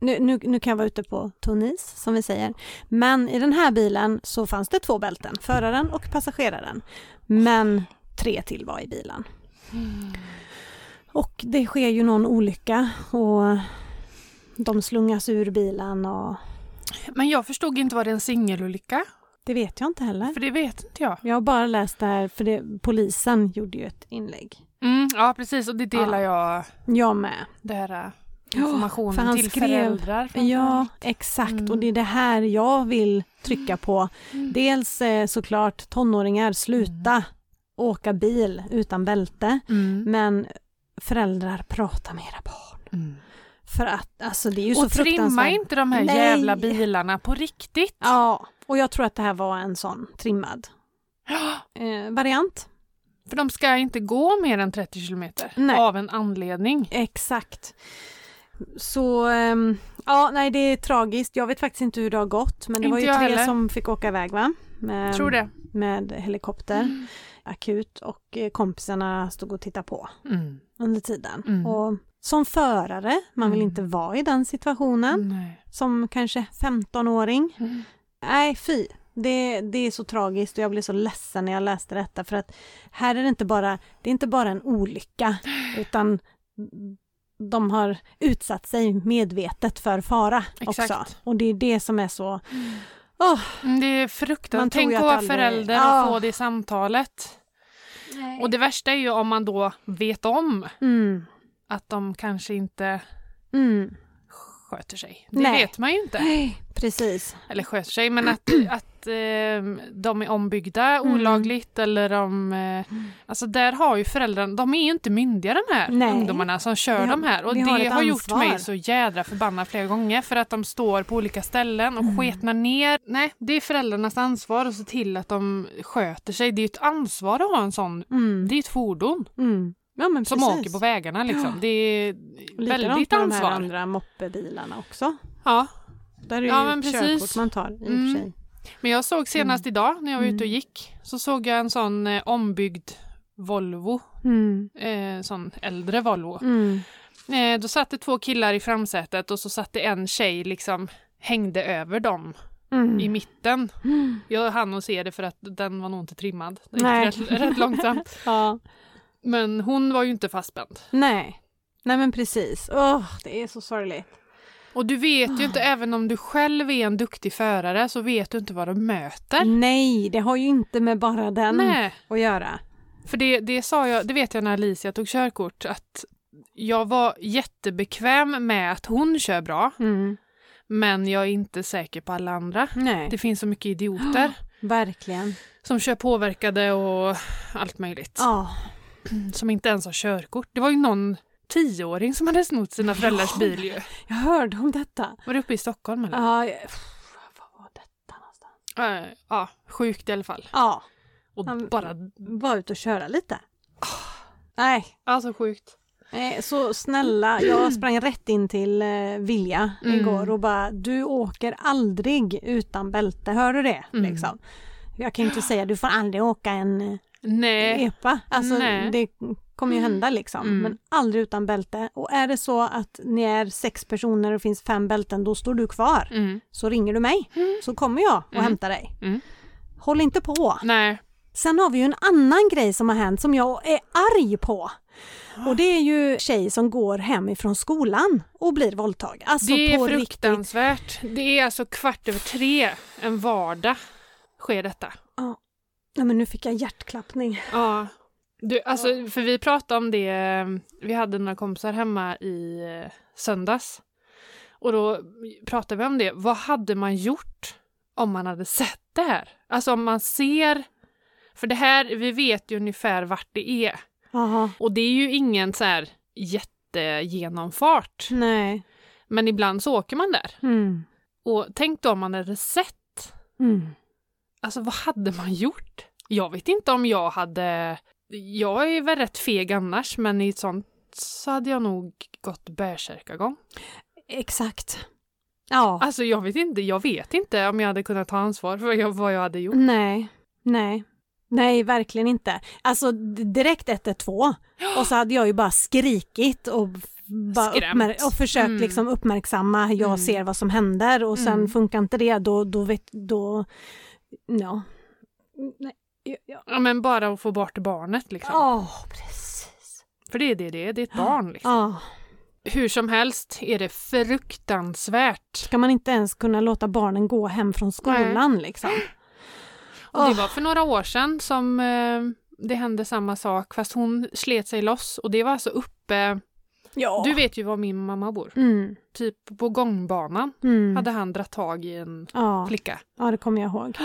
nu, nu, nu kan jag vara ute på tunn is som vi säger. Men i den här bilen så fanns det två bälten, föraren och passageraren. Men tre till var i bilen.
Mm.
Och det sker ju någon olycka och de slungas ur bilen och
Men jag förstod inte, var det en singelolycka?
det vet jag inte heller.
För det vet inte jag.
Jag har bara läst det här för det, polisen gjorde ju ett inlägg.
Mm, ja, precis. Och det delar jag.
Jag med.
det här eh,
Ja,
informationen
för han
till
skrev-
föräldrar. framför
Ja,
allt.
exakt.
Mm.
Och det är det här jag vill trycka på.
Mm.
Dels eh, såklart tonåringar, sluta åka bil utan bälte.
Mm.
Men föräldrar, prata med era barn. För att alltså, det är ju så
Och trimma
fruktansvärt.
inte de här
Nej.
jävla bilarna på riktigt.
Ja, och jag tror att det här var en sån trimmad eh, variant.
För de ska inte gå mer än 30 kilometer
Nej.
av en anledning.
Exakt. Så ehm, ja, nej det är tragiskt. Jag vet faktiskt inte hur det har gått men det
Inte
var ju tre
jag heller.
som fick åka iväg va? Med,
Tror det.
med helikopter.
Mm.
akut och eh, kompisarna stod och tittade på
Mm.
under tiden.
Mm.
Och som förare, man vill
Mm.
inte vara i den situationen
Nej.
som kanske 15-åring.
Mm.
Nej, fy. Det, det är så tragiskt och jag blev så ledsen när jag läste detta för att här är det inte bara, det är inte bara en olycka utan de har utsatt sig medvetet för fara
Exakt.
också. Och det är det som är så, åh,
Mm, Det är fruktansvärt.
Man tror
Tänk
ju
att
att
vara
aldrig-
förälder
Ja.
och få det samtalet. Och det värsta är ju om man då vet om
mm,
att de kanske inte
mm,
sköter sig. Det
Nej.
vet man ju inte.
Nej, precis.
Eller sköter sig, men att, att ehm, de är ombyggda
Mm.
olagligt eller de... Eh, alltså där har ju föräldrarna, de är ju inte myndiga de här
Nej.
ungdomarna som kör
Vi har-
de här. Och
vi
det
har
har,
ett
gjort
ansvar.
mig så jädra förbannad flera gånger för att de står på olika ställen och
Mm.
sketnar ner. Nej, det är föräldrarnas ansvar att se till att de sköter sig. Det är ju ett ansvar att ha en sån,
Mm,
det är ett fordon
mm. Ja men
som
precis.
åker på vägarna liksom.
Ja.
Det är
Likadant
väldigt
med de här
ansvar.
andra moppebilarna också.
Ja.
Där är det
Ja,
ju
men
ett
precis.
körkort man tar i och
Mm.
för sig.
Men jag såg senast idag när jag var ute och
Mm.
gick så såg jag en sån eh, ombyggd Volvo,
Mm.
eh, sån äldre Volvo.
Mm.
Eh, då satt det två killar i framsätet och så satt det en tjej liksom hängde över dem
Mm.
i mitten.
Mm.
Jag hann och se det för att den var nog inte trimmad. Det
Nej.
gick rätt, rätt långsamt.
Ja.
Men hon var ju inte fastspänd.
Nej. Nej men precis. Åh, det är så sorgligt.
Och du vet ju
Ah.
inte, även om du själv är en duktig förare så vet du inte vad du möter.
Nej, det har ju inte med bara den
Nej.
att göra.
För det, det sa jag, det vet jag när Alicia tog körkort, att jag var jättebekväm med att hon kör bra,
Mm.
men jag är inte säker på alla andra.
Nej,
Det finns så mycket idioter
verkligen.
som kör påverkade och allt möjligt,
Ja.
som inte ens har körkort. Det var ju någon tioåring som hade snott sina föräldrars bil ju.
Jag hörde om detta.
Var det uppe i Stockholm eller?
Ja, jag- pff, vad var detta någonstans?
Eh, ja, sjukt i alla fall.
Ja,
Och
Han-
bara,
var ute och köra lite. Nej,
alltså sjukt.
Nej, Eh, så snälla, jag sprang rätt in till eh, Vilja
Mm.
igår och bara du åker aldrig utan bälte, hör du det?
Mm.
Liksom. Jag kan ju inte säga du får aldrig åka en eh,
Nej,
epa, alltså
Nej.
det kommer ju hända liksom,
Mm.
men aldrig utan bälte. Och är det så att ni är sex personer och finns fem bälten, då står du kvar.
mm.
Så ringer du mig, så kommer jag och
Mm.
hämtar dig.
Mm.
Håll inte på!
nej,
Sen har vi ju en annan grej som har hänt som jag är arg på. Och det är ju tjej som går hem ifrån skolan och blir våldtagen. Alltså
det
på
är
riktigt.
fruktansvärt. Det är alltså kvart över tre en vardag sker detta.
Nej men nu fick jag hjärtklappning.
Ja. Du, alltså, för vi pratade om det, eh, vi hade några kompisar hemma i eh, söndags. Och då pratade vi om det, vad hade man gjort om man hade sett det här? Alltså om man ser, för det här, vi vet ju ungefär vart det är.
Jaha.
Och det är ju ingen så här jättegenomfart.
Nej.
Men ibland så åker man där.
Mm.
Och tänk då om man hade sett
Mm.
Alltså vad hade man gjort? Jag vet inte om jag hade... Jag är väl rätt feg annars, men i ett sånt så hade jag nog gått bärsärkagång.
Exakt. Ja.
Alltså jag vet inte, jag vet inte om jag hade kunnat ta ansvar för vad jag, vad jag hade gjort.
Nej. Nej. Nej, verkligen inte. Alltså d- direkt 112 och så hade jag ju bara skrikit och bara
Skrämt.
uppmär- och försökt
Mm.
liksom uppmärksamma, jag
Mm.
ser vad som händer och sen
Mm.
funkar inte det, då, då vet, då, ja. Nej, ja, ja.
Ja, men bara att få bort barnet liksom.
Åh, precis.
För det är det det är, det är ett barn liksom.
Ja,
Hur som helst är det fruktansvärt.
ska man inte ens kunna låta barnen gå hem från skolan liksom?
Och det var för några år sedan som eh, det hände samma sak, fast hon slet sig loss och det var alltså uppe...
Ja.
Du vet ju var min mamma bor.
Mm,
Typ på gångbanan.
mm.
hade han dragit tag i en
Ja,
flicka.
ja, det kommer jag ihåg.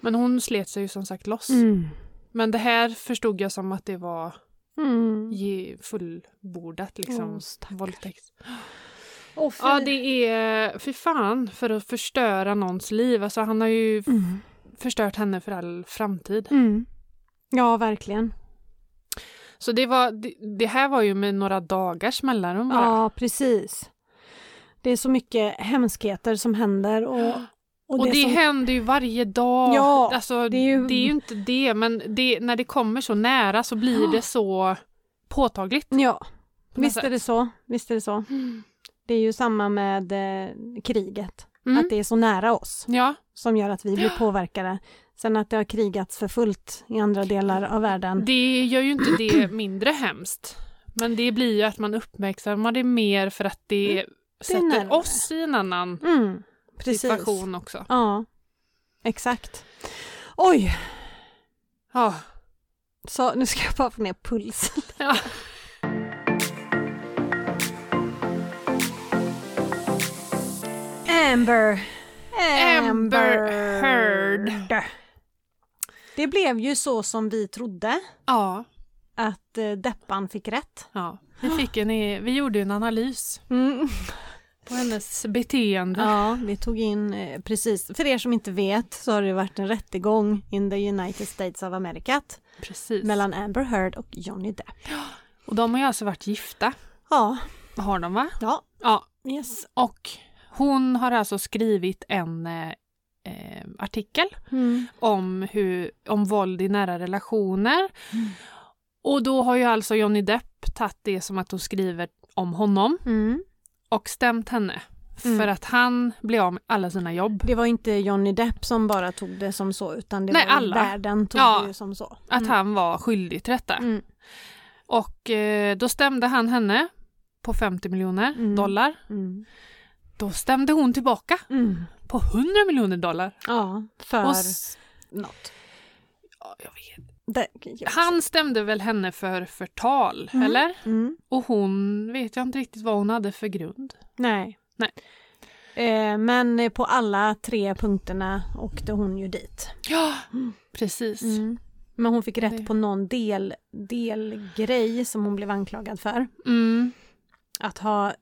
Men hon slet sig ju som sagt loss.
Mm.
Men det här förstod jag som att det var
Mm.
ge- fullbordat liksom.
Åh, stackars.
Våldtäkt.
Åh,
Ja,
fy.
det är... Fy fan, för att förstöra någons liv. Alltså, han har ju f-
Mm.
förstört henne för all framtid.
Mm. Ja, verkligen.
Så det, var, det, det här var ju med några dagars mellanrum bara.
Ja, precis. Det är så mycket hemskheter som händer och,
Och det,
som,
händer ju varje dag.
Ja,
alltså,
det
det,
är
är
ju-
ju... inte det, men det, när det kommer så nära så blir det så påtagligt.
Ja,
på något
visst är
sätt.
det så. Visst är det så. Det är ju samma med eh, kriget,
Mm.
att det är så nära oss.
Ja,
som gör att vi blir påverkade. Sen att det har krigats för fullt i andra delar av världen.
Det gör ju inte det mindre hemskt. Men det blir ju att man uppmärksammar det mer för att Mm. det, sätter
närmare.
oss i en annan
Mm, precis.
situation också.
Ja, exakt. Oj,
Ja.
så nu ska jag bara få ner pulsen.
Ja.
Amber.
Amber Heard.
Det blev ju så som vi trodde,
ja.
att eh, Deppan fick rätt.
ja. Vi, fick en, vi gjorde ju en analys på hennes beteende.
Ja, vi tog in eh, precis. För er som inte vet så har det varit en rättegång in the United States of America
Precis.
mellan Amber Heard och Johnny Depp.
Och de har ju alltså varit gifta.
Ja,
Har de va?
ja,
Ja.
yes.
Och hon har alltså skrivit en eh, eh, artikel
Mm.
om, hur, om våld i nära relationer.
Mm.
Och då har ju alltså Johnny Depp tagit det som att hon skriver om honom
Mm.
och stämt henne.
Mm.
För att han blev av med alla sina jobb.
Det var inte Johnny Depp som bara tog det som så utan det
Nej,
var ju
alla.
världen tog
Ja.
det ju som så.
Att han var skyldig till detta.
Mm.
Och eh, då stämde han henne på 50 miljoner
Mm.
dollar.
Mm.
Då stämde hon tillbaka
Mm.
på 100 miljoner dollar.
Ja, för
Och s-
något.
ja, jag vet.
Det, jag-
Han stämde väl henne för förtal,
Mm.
eller?
Mm.
Och hon vet jag inte riktigt vad hon hade för grund.
Nej.
Nej.
Eh, men eh, på alla tre punkterna åkte hon ju dit.
Ja, precis.
Men hon fick
Mm. Det-
rätt på någon del, delgrej som hon blev anklagad för.
Mm.
Att ha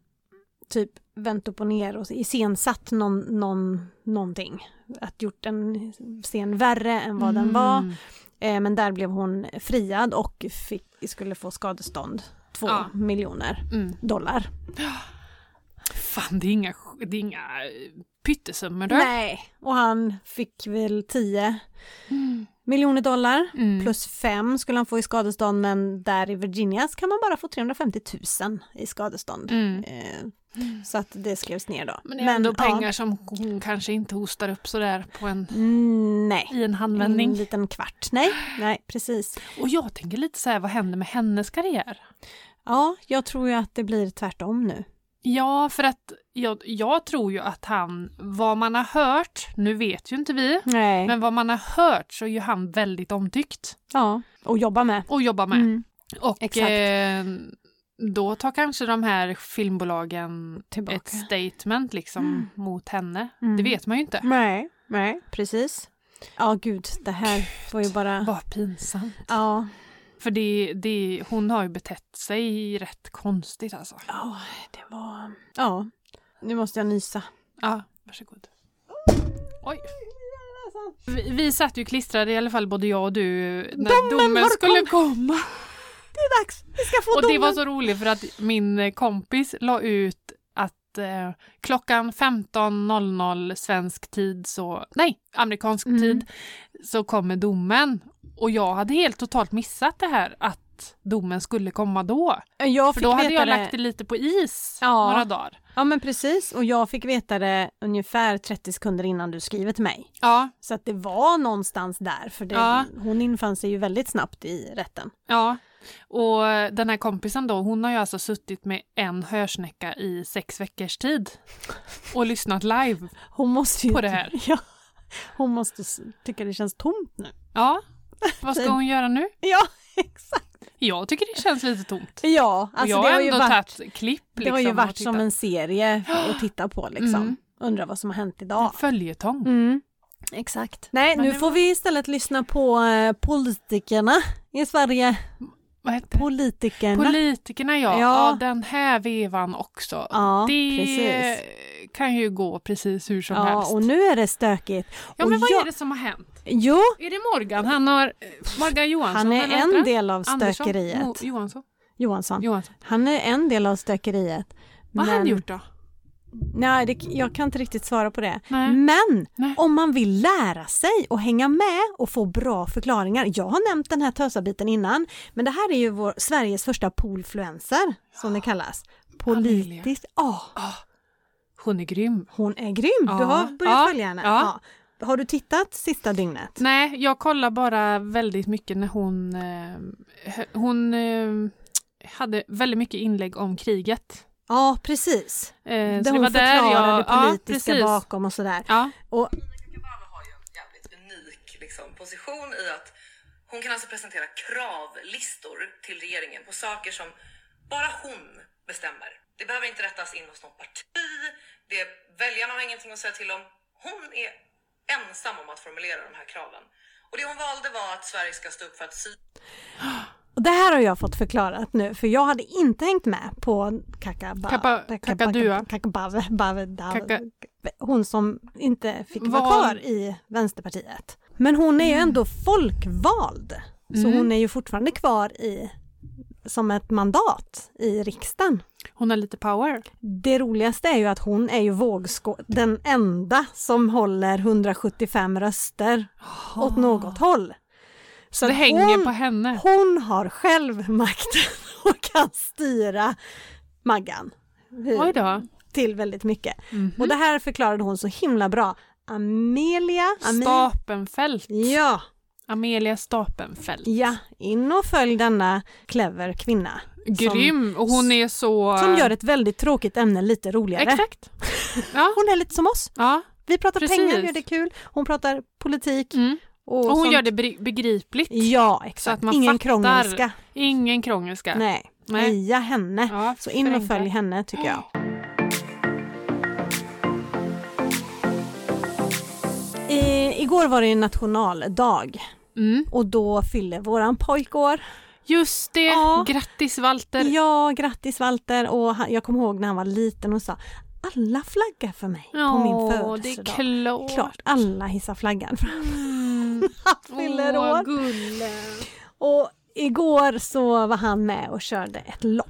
typ vänt upp och ner och iscensatt någon, någon, någonting. Att gjort en scen värre än vad den var.
Mm.
Eh, men där blev hon friad och fick, skulle få skadestånd. Två
Ja.
miljoner
Mm.
dollar.
Fan, det är inga, det är inga eh, pyttesummor du.
Nej, och han fick väl 10
Mm.
miljoner dollar.
Mm.
Plus fem skulle han få i skadestånd men där i Virginias kan man bara få 350 000 i skadestånd.
Mm.
Eh, så att det skrevs ner då.
Men det är ändå pengar som hon kanske inte hostar upp sådär på en,
Ja, Mm, nej.
i en
En
handvändning.
liten kvart. Nej, nej precis.
Och jag tänker lite så här, vad händer med hennes karriär?
Ja, jag tror ju att det blir tvärtom nu.
Ja, för att jag, jag tror ju att han, vad man har hört, nu vet ju inte vi,
Nej.
men vad man har hört så är ju han väldigt omtyckt
ja, och jobba med.
och jobbar med.
Mm.
Och
Exakt.
eh, då tar kanske de här filmbolagen ett statement liksom
Mm.
mot henne.
Mm.
Det vet man ju inte.
Nej, nej, precis. Ja, gud, det här var ju bara...
Vad pinsamt.
Ja,
För det, det, hon har ju betett sig rätt konstigt alltså.
ja, det var... Ja, nu måste jag nysa.
Ja, varsågod. Oj. Vi, vi satt ju klistrade i alla fall både jag och du när domen,
Domen har
skulle komma.
Det är dags, vi ska få
Och det var så roligt för att min eh, kompis la ut att eh, klockan 15.00 svensk tid så, nej, amerikansk
Mm.
tid så kommer domen. Och jag hade helt totalt missat det här att domen skulle komma då.
Jag
För
fick
då hade
veta
jag
det...
lagt det lite på is
Ja.
några dagar.
Ja, men precis. Och jag fick veta det ungefär 30 sekunder innan du skrivit mig.
Ja,
Så att det var någonstans där, för det,
Ja.
hon infann sig ju väldigt snabbt i rätten.
Ja, och den här kompisen då, hon har ju alltså suttit med en hörsnäcka i sex veckors tid och lyssnat live.
Hon måste ju...
På det här.
Ja. Hon måste s- tycka det känns tomt nu.
Ja, vad ska hon göra nu?
Ja, exakt.
Jag tycker det känns lite tomt.
Ja,
Och
alltså
jag
det har
har
ju
ändå
varit...
tagit klipp liksom.
det har ju
och
varit
tittat.
som en serie att titta på liksom.
Mm.
Undrar vad som har hänt idag.
följetong.
Mm. Exakt. Nej,
Men
nu
det
får vi istället lyssna på eh, politikerna i Sverige.
Vad heter det?
Politikerna.
Politikerna ja. ja.
Ja.
den här vevan också.
ja,
det
precis.
kan ju gå precis hur som
Ja,
helst.
och nu är det stökigt.
ja,
och
men vad
jag-
är det som har hänt?
Jo,
Är det Morgan? Han har... eh, Morgan Johansson?
han är
eller vad heter
en del av
Andersson?
stökeriet.
Mo- Johansson?
Johansson.
Johansson.
Han är en del av stökeriet.
Vad har han
Men-
gjort då?
Nej, det, jag kan inte riktigt svara på det.
Nej.
Men
Nej.
om man vill lära sig och hänga med och få bra förklaringar. Jag har nämnt den här tösabiten innan, men det här är ju vår, Sveriges första polfluencer, som det kallas. Politiskt, ja.
Hon är grym.
Hon är grym,
Ja.
du har börjat
Ja.
följa henne.
Ja. Mm.
Ja. Har du tittat sista dygnet?
Nej, jag kollar bara väldigt mycket när hon... Eh, hö- hon eh, hade väldigt mycket inlägg om kriget.
Ja, precis.
Eh,
Där
så det
hon
var där
förklarade
jag...
det politiska
ja, precis.
bakom och sådär.
Ja,
Och
Kebara har ju en jävligt unik liksom, position i att hon kan alltså presentera kravlistor till regeringen på saker som bara hon bestämmer. Det behöver inte rättas in hos något parti, det, väljarna har ingenting att säga till om. Hon är ensam om att formulera de här kraven. Och det hon valde var att Sverige ska stå upp för att Syrien
Och det här har jag fått förklarat nu för jag hade inte hängt med på Kakaba,
Kapa- Kakadua.
Kakabave, Bave, Dav,
Kaka-
hon som inte fick vara
Val.
kvar i Vänsterpartiet. Men hon är ju ändå folkvald
Mm.
så hon är ju fortfarande kvar i som ett mandat i riksdagen.
hon har lite power.
Det roligaste är ju att hon är ju vågskå- den enda som håller 175 röster åt något håll. Så
Det
att
hänger
hon-
på henne.
hon har själv makten och kan styra Maggan hur-
Oj då.
till väldigt mycket.
Mhm.
Och det här förklarade hon så himla bra. Amelia, Ame-
Stapenfält.
Ja,
Amelia Stapenfält.
ja, in och följ denna clever kvinna.
Grym! och hon är så...
Som, som gör ett väldigt tråkigt ämne lite roligare.
Exakt. Ja,
Hon är lite som oss.
ja.
Vi pratar
Precis.
pengar, gör det kul. Hon pratar politik.
Mm.
Och,
Och hon
sånt.
gör det bri- begripligt.
Ja,
Så att
exakt.
man
Ingen
fattar.
krångelska.
Ingen krångelska.
Nej,
Nej.
heja henne.
Ja,
Så in och
förenkla.
följ henne tycker jag. I, igår var det ju nationaldag
Mm.
och då fyller våran pojk år.
Just det!
Ja.
Grattis Walter!
Ja, grattis Walter! Och han, jag kommer ihåg när han var liten och sa alla flaggar för mig på min
Åh, det är
födelsedag.
klart.
Klart, alla hissar flaggan för han
Mm.
fyller
Åh,
år.
gulle.
Och igår så var han med och körde ett lopp.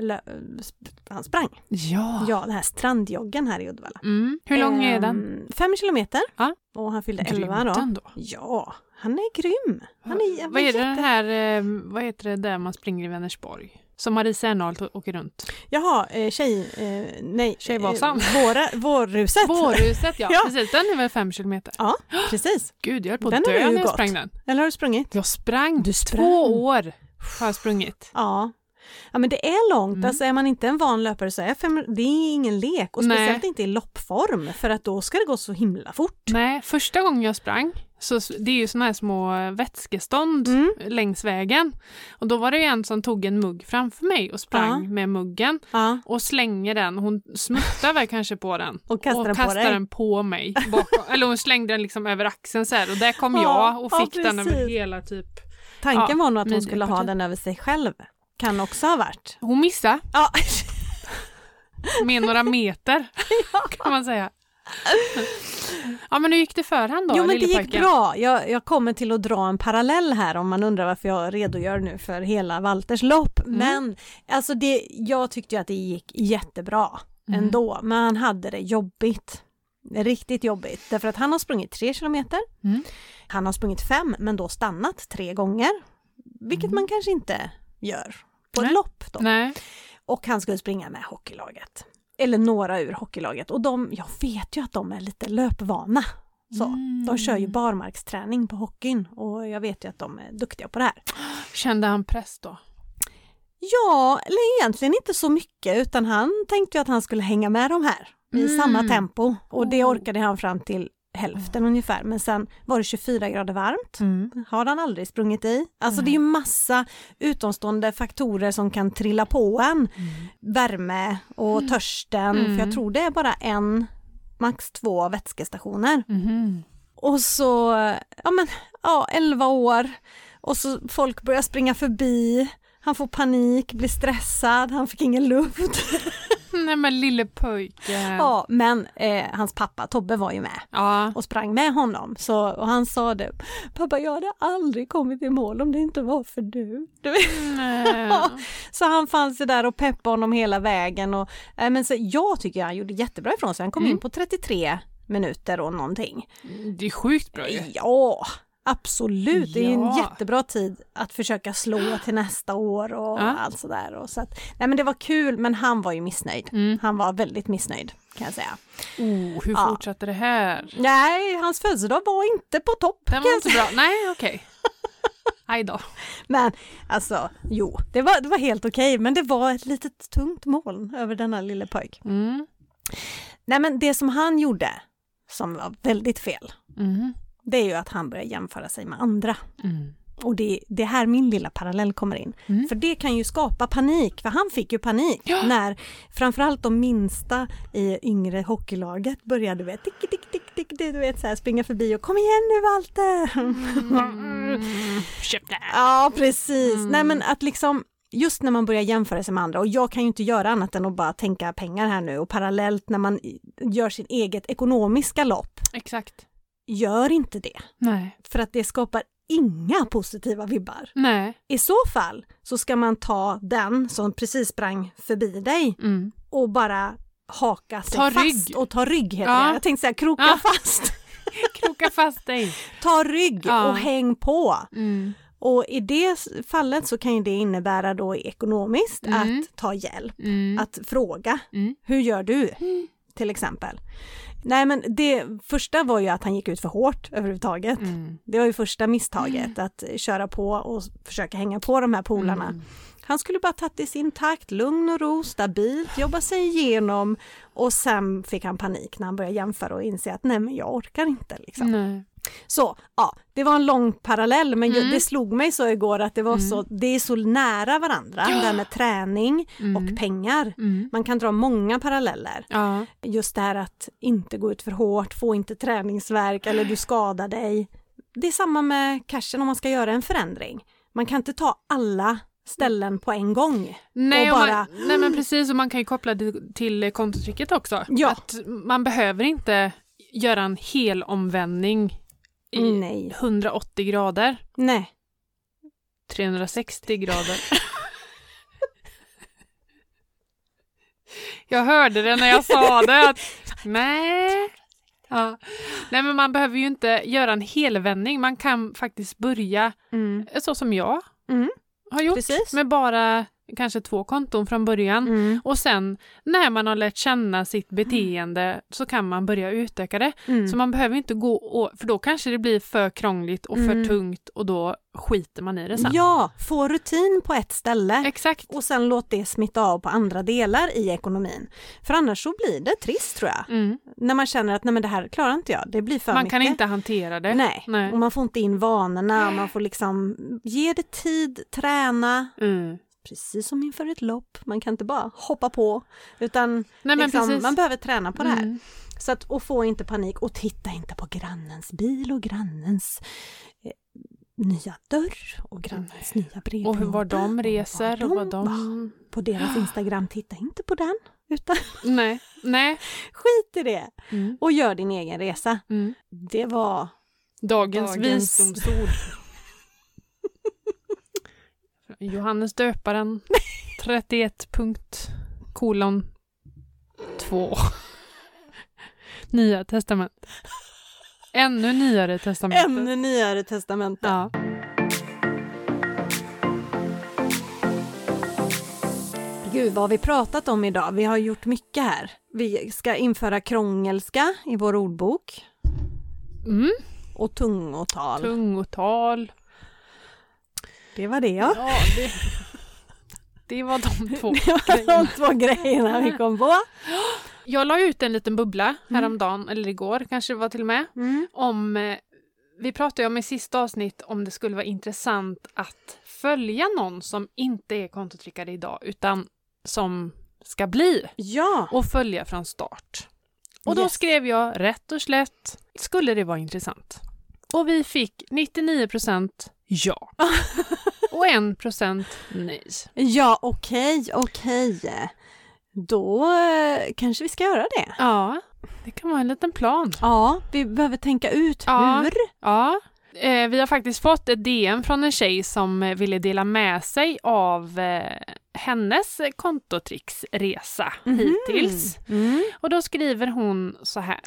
Lö- sp- Han sprang.
Ja.
Ja, den här strandjoggen här i Uddevalla.
Mm. Hur lång är
Ehm,
den?
Fem kilometer.
Ja.
Och han fyllde
Grymt
Ehm, elva då.
ändå.
Ja, han är grym. Han är, han
Vad är det den här, eh, vad heter det där man springer i Vänersborg? Som Marie Serneholt å- åker runt.
Jaha, eh, tjej... Eh, nej.
Tjejvasan.
Eh, våra, vårruset.
Vårhuset ja,
Ja.
precis. Den är väl fem kilometer?
Ja, precis.
Gud, jag höll på
Den
att
har du
dö
ju
när jag
gått.
sprang den.
Eller har du sprungit?
Jag sprang,
Du sprang.
två år har jag sprungit.
Ja. Ja men det är långt,
Mm.
alltså är man inte en van löpare så är fem, det är ingen lek och
Nej.
speciellt inte i loppform för att då ska det gå så himla fort.
Nej, första gången jag sprang, så s- det är ju såna här små vätskestånd
Mm.
längs vägen. Och då var det ju en som tog en mugg framför mig och sprang
Ja.
med muggen
Ja,
och slänger den. Hon smuttar väl kanske på den.
och kastar den
och
på
kastar
dig.
den på mig. Bakom. Eller hon slängde den liksom över axeln så här och där kom
Ja,
jag och
ja,
fick den över
precis.
hela typ.
Tanken
Ja,
var nog att hon
min-
skulle ha den över sig själv. Kan också ha varit.
Hon missade
Ja,
med några meter kan man säga. Ja men hur gick det för han då,
jo men det gick
lillepojken?
bra. Jag, jag kommer till att dra en parallell här om man undrar varför jag redogör nu för hela Walters lopp.
Mm.
Men alltså det, jag tyckte ju att det gick jättebra
Mm.
ändå. Men han hade det jobbigt. Riktigt jobbigt. Därför att han har sprungit tre kilometer.
Mm.
Han har sprungit fem men då stannat tre gånger. Vilket man kanske inte gör på ett
Mm. Nej.
lopp då.
Nej.
Och han skulle springa med hockeylaget. Eller några ur hockeylaget. Och de, jag vet ju att de är lite löpvana. Så. De kör ju barmarksträning på hockeyn och jag vet ju att de är duktiga på det här.
Kände han press då?
Ja, eller egentligen inte så mycket utan han tänkte ju att han skulle hänga med de här i
Mm.
samma tempo och det
Oh.
orkade han fram till hälften ungefär men sen var det 24 grader varmt.
Mm.
Har han aldrig sprungit i. Alltså det är ju massa utomstående faktorer som kan trilla på en. Värme och törsten,
Mm.
för jag tror det är bara en, max två vätskestationer.
Mhm.
Och så, ja men, ja, 11 år och så folk börjar springa förbi. Han får panik, blir stressad, han fick ingen luft.
Nej men lille pojken. Ja.
Ja, men eh, hans pappa Tobbe var ju med och sprang med honom. Så, och han sa det, pappa jag hade aldrig kommit i mål om det inte var för du. du vet.
Nej.
Så han fanns ju där och peppade honom hela vägen. Och, eh, men så, jag tycker han gjorde jättebra ifrån sig, han kom
Mm.
in på 33 minuter och någonting.
Det är sjukt bra ju.
Ja, Absolut, det är ju en
Ja.
jättebra tid att försöka slå till nästa år och
Ja.
allt sådär. Och så att, nej men det var kul, men han var ju missnöjd.
Mm.
Han var väldigt missnöjd kan jag säga.
Oh, hur
Ja.
fortsatte det här?
Nej, hans födelsedag var inte på topp.
Den
kan jag
var inte bra. Nej, okej. Aj då.
Men alltså, jo, det var, det var helt okej, men det var ett litet tungt moln över denna lille pojk.
Mm.
Nej, men det som han gjorde, som var väldigt fel,
Mm.
det är ju att han börjar jämföra sig med andra.
Mm.
Och det, det är här min lilla parallell kommer in. För det kan ju skapa panik, för han fick ju panik
Ja.
när framförallt de minsta i yngre hockeylaget började du vet, tick, tick, tick, tick, du vet, så här, springa förbi och kom igen nu Walter!
Mm. Köp det. Mm.
Ja, precis. Nej, men att liksom Just när man börjar jämföra sig med andra och jag kan ju inte göra annat än att bara tänka pengar här nu och parallellt när man i- gör sin eget ekonomiska lopp,
Exakt.
gör inte det.
Nej.
För att det skapar inga positiva vibbar.
Nej.
I så fall så ska man ta den som precis sprang förbi dig
Mm.
och bara haka sig
Ta
fast
rygg.
och ta rygg heter
Ja.
det. Jag tänkte säga kroka
Ja.
fast.
Kroka fast dig.
Ta rygg
Ja.
och häng på.
Mm.
Och i det s- fallet så kan ju det innebära då ekonomiskt
Mm.
att ta hjälp,
Mm.
att fråga
Mm.
hur gör du till exempel. Nej men det första var ju att han gick ut för hårt överhuvudtaget.
Mm.
Det var ju första misstaget att köra på och s- försöka hänga på de här polarna.
Mm.
Han skulle bara tagit det i sin takt, lugn och ro, stabilt, jobba sig igenom och sen fick han panik när han började jämföra och inse att nej men jag orkar inte liksom.
Nej.
Så, ja, det var en lång parallell men
Mm.
ju- det slog mig så igår att det var så, det är så nära varandra, det här med träning och pengar.
Mm.
Man kan dra många paralleller.
Ja.
Just det här att inte gå ut för hårt, få inte träningsvärk eller du skadar dig. Det är samma med cashen om man ska göra en förändring. Man kan inte ta alla ställen på en gång.
Nej,
Och
och
bara-
man, nej men precis och man kan ju koppla det till kontotricket också.
Ja.
Att man behöver inte göra en hel omvändning i
Nej.
180 grader,
Nej.
360 grader. jag hörde det när jag sa det. Att, nej. Ja. nej, men man behöver ju inte göra en helvändning. Man kan faktiskt börja
Mm.
så som jag
Mm.
har gjort
Precis.
med bara kanske två konton från början.
Mm.
Och sen när man har lärt känna sitt beteende så kan man börja utöka det.
Mm.
Så man behöver inte gå och, för då kanske det blir för krångligt och för
Mm.
tungt och då skiter man i det sen.
Ja, få rutin på ett ställe.
Exakt.
och sen låt det smitta av på andra delar i ekonomin. För annars så blir det trist tror jag.
Mm.
När man känner att nej men det här klarar inte jag, det blir för
Man
mycket.
kan inte hantera det.
Nej.
Nej.
och man får inte in vanorna, och man får liksom ge det tid, träna,
Mm.
precis som inför ett lopp. Man kan inte bara hoppa på, utan
Nej men
liksom,
precis.
man behöver träna på det här.
Mm.
Så att, och få inte panik och titta inte på grannens bil och grannens eh, nya dörr och grannens nya
Och
brevlåda.
hur var de reser och vad
va?
de...
på deras Instagram, titta inte på den, utan
Nej. Nej.
skit i det
Mm.
och gör din egen resa.
Mm.
Det var...
Dagens,
Dagens
visdomsord. Johannes döparen 31 punkt kolon 2. Nya testament. Ännu nyare testamentet.
Ännu nyare testamente.
Ja.
Gud, vad har vi pratat om idag? Vi har gjort mycket här. Vi ska införa krångelska i vår ordbok
Mm.
och tungotal.
Tungotal.
det var det, ja.
Ja, det, det var de två.
De två grejerna vi kom på.
Jag la ut en liten bubbla häromdagen, eller igår kanske det var till och med.
Mm.
om... eh, Vi pratade ju om i sista avsnitt om det skulle vara intressant att följa någon som inte är kontotrickare idag utan som ska bli
Ja,
och följa från start. Och då
Yes.
skrev jag rätt och slätt, skulle det vara intressant? Och vi fick 99% ja. och 1% nej.
ja okej, okej. Då eh, kanske vi ska göra det.
Ja, det kan vara en liten plan.
Ja, vi behöver tänka ut
Ja.
hur.
Ja. Eh, vi har faktiskt fått ett DM från en tjej som eh, ville dela med sig av eh, hennes eh, Mhm. kontotricksresa hittills.
Mm.
Och då skriver hon så här.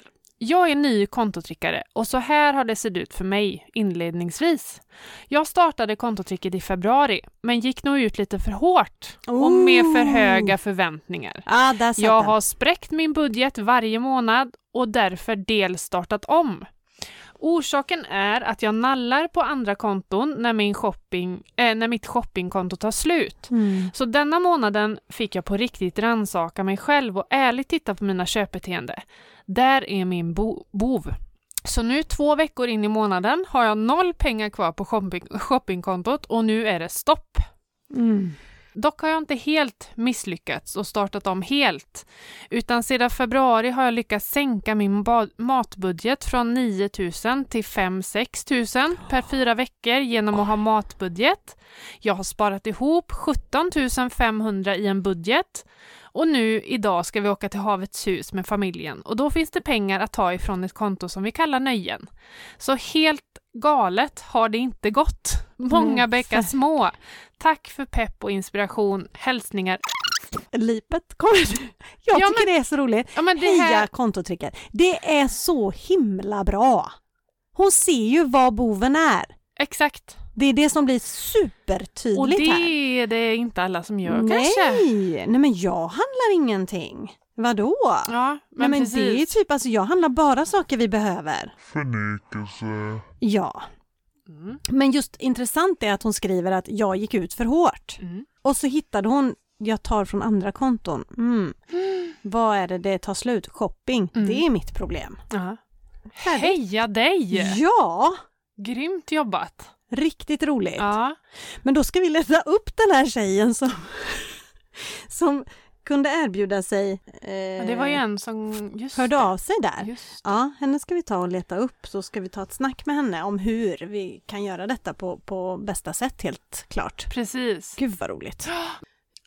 Jag är ny kontotrickare och så här har det sett ut för mig inledningsvis. Jag startade kontotricket i februari, men gick nog ut lite för hårt och med för höga förväntningar.
Ah, där satt
Jag
den.
har spräckt min budget varje månad och därför delstartat om. Orsaken är att jag nallar på andra konton när, min shopping, eh, när mitt shoppingkonto tar slut.
Mm.
Så denna månaden fick jag på riktigt rannsaka mig själv och ärligt titta på mina köpbeteende. Där är min bo- bov. Så nu två veckor in i månaden har jag noll pengar kvar på shopping- shoppingkontot och nu är det stopp.
Mm.
Dock har jag inte helt misslyckats och startat om helt, utan sedan februari har jag lyckats sänka min ba- matbudget från 9 000 till 5 6 000 per fyra veckor genom att ha matbudget. Jag har sparat ihop 17 500 i en budget och nu idag ska vi åka till Havets hus med familjen och då finns det pengar att ta ifrån ett konto som vi kallar nöjen. Så helt galet har det inte gått. Många bäckar små. Tack för pepp och inspiration. Hälsningar.
Lipet kommer du. Jag
Ja,
tycker det är så roligt.
Ja, men det
Heja
här,
kontotricket. Det är så himla bra. Hon ser ju vad boven är.
exakt.
Det är det som blir
Och
supertydligt
det
här.
är det inte alla som gör kanske.
Nej, nej men jag handlar ingenting. Vadå?
Ja, men,
nej, men det är
precis.
typ, alltså jag handlar bara saker vi behöver.
Förnekelse.
Ja,
Mm.
men just intressant är att hon skriver att jag gick ut för hårt.
Mm.
Och så hittade hon, jag tar från andra konton. Mm. Vad är det det tar slut? Shopping,
Mm.
det är mitt problem.
Ja. Heja dig!
Ja,
Grymt jobbat.
riktigt roligt.
Ja.
Men då ska vi leta upp den här tjejen som, som kunde erbjuda sig. Eh,
Ja, Det var ju en som... Just
hörde
det.
av sig där.
Just.
Ja, henne ska vi ta och leta upp så ska vi ta ett snack med henne om hur vi kan göra detta på, på bästa sätt helt klart.
Precis.
Gud vad roligt.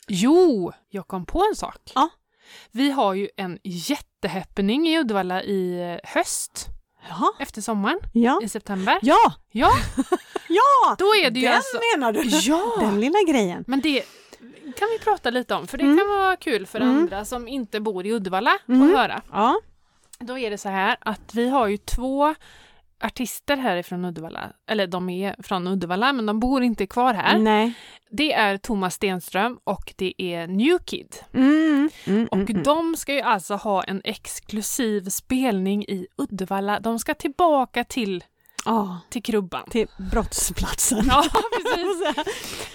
Jo, jag kom på en sak.
Ja.
Vi har ju en jättehappening i Uddevalla i höst,
Jaha,
efter sommaren,
ja.
i september.
Ja,
Ja,
ja!
då är det ju
Den
alltså...
menar du?
Ja!
Den lilla grejen.
Men det kan vi prata lite om, för det
Mm.
kan vara kul för
Mm.
andra som inte bor i Uddevalla
Mm.
att höra.
Ja.
Då är det så här att vi har ju två artister härifrån Uddevalla, eller de är från Uddevalla men de bor inte kvar här.
Nej.
Det är Thomas Stenström och det är New Kid.
Mm. Mm,
Och
mm, mm.
de ska ju alltså ha en exklusiv spelning i Uddevalla. De ska tillbaka till,
Ja,
till krubban.
till brottsplatsen.
Ja, precis.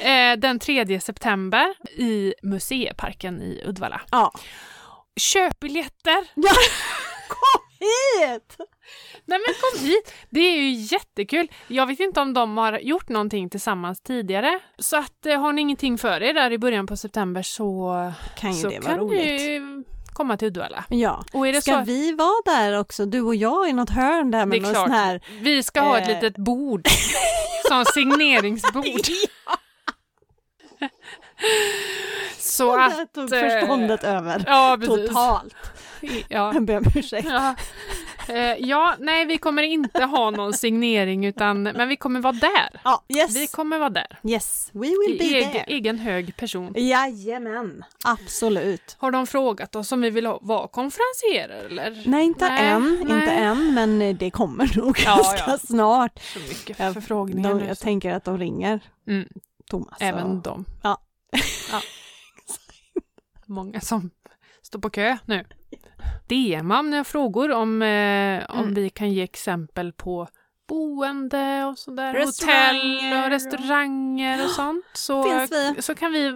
Eh, Den 3 september i Museiparken i Uddevalla.
Ja.
Köp biljetter!
ja. Kom hit!
Nej men kom hit! Det är ju jättekul. Jag vet inte om de har gjort någonting tillsammans tidigare. Så att eh, har ni ingenting för er där i början på september så,
Kan ju
så
det vara
kan
roligt.
ni ju komma till Uddevalla.
Ja.
Och är det
Ska
så att
vi vara där också, du och jag i något hörn där
det
med
är
någon
klart,
sån här...
vi ska ha ett
eh,
litet bord. som signeringsbord. så
Där
att...
tog
eh,
förståndet över.
Ja, precis.
Totalt.
Ja.
Jag ber om ursäkt.
Ja. Eh, ja, nej vi kommer inte ha någon signering utan, men vi kommer vara där.
Ja, yes.
Vi kommer vara där.
yes, we will
I
be
egen,
there.
egen hög person.
Jajamän, absolut.
Har de frågat oss om vi vill ha- vara konferencierer eller?
Nej, inte
Nej,
än,
nej.
inte än, men eh, det kommer nog
Ja,
ganska
ja.
snart.
Så mycket
Ja,
förfrågningar
De,
nu.
jag tänker att de ringer
Mm,
Thomas. och-
Även de.
Ja.
Ja. Många som står på kö nu. DMa om ni har frågor om, eh, om
Mm.
vi kan ge exempel på boende och sådär. Hotell
Restauranger
och
och-
restauranger och sånt. Så,
Finns vi.
så kan vi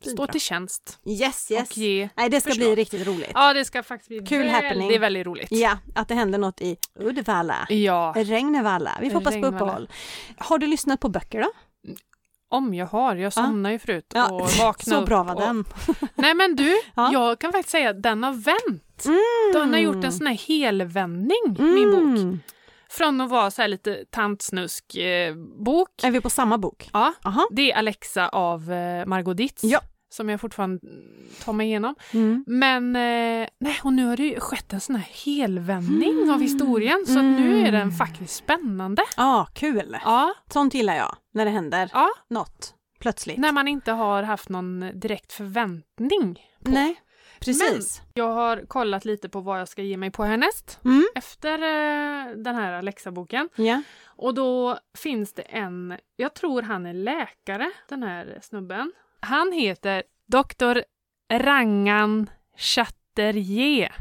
stå
Bidra.
till tjänst
Yes, yes.
och ge.
Nej, det ska bli
förslag.
riktigt roligt. Ja.
Ja, det ska faktiskt bli
Kul happening.
väldigt, väldigt roligt.
att det händer något i Uddevalla.
Ja,
Regnevalla. Vi får hoppas på
Regnevalla.
uppehåll. Har du lyssnat på böcker då?
om jag har. Jag somnade ju förut och
Ja,
vaknade
Så bra
upp
var
och-
den.
Nej men du,
Ja. Mm.
jag kan faktiskt säga att den har vänt. Den har gjort en sån här helvändning, min bok.
Mm.
Från att vara så här lite tantsnusk eh, bok.
Är vi på samma bok?
Ja,
Aha.
det är Alexa av eh, Margot Ditz.
Ja.
Som jag fortfarande mm, tar mig igenom.
Mm.
Men eh, nej, och nu har det ju skett en sån här helvändning av historien. Så att nu
Mm.
är den faktiskt spännande.
Ja, kul.
Ja,
Sånt gillar jag, när det händer
ja.
något plötsligt.
När man inte har haft någon direkt förväntning.
Nej. Precis.
Jag har kollat lite på vad jag ska ge mig på härnäst
Mm.
efter eh, den här Alexa-boken.
Ja.
Och då finns det en, jag tror han är läkare, den här snubben. Han heter Dr. Rangan Chatterjee.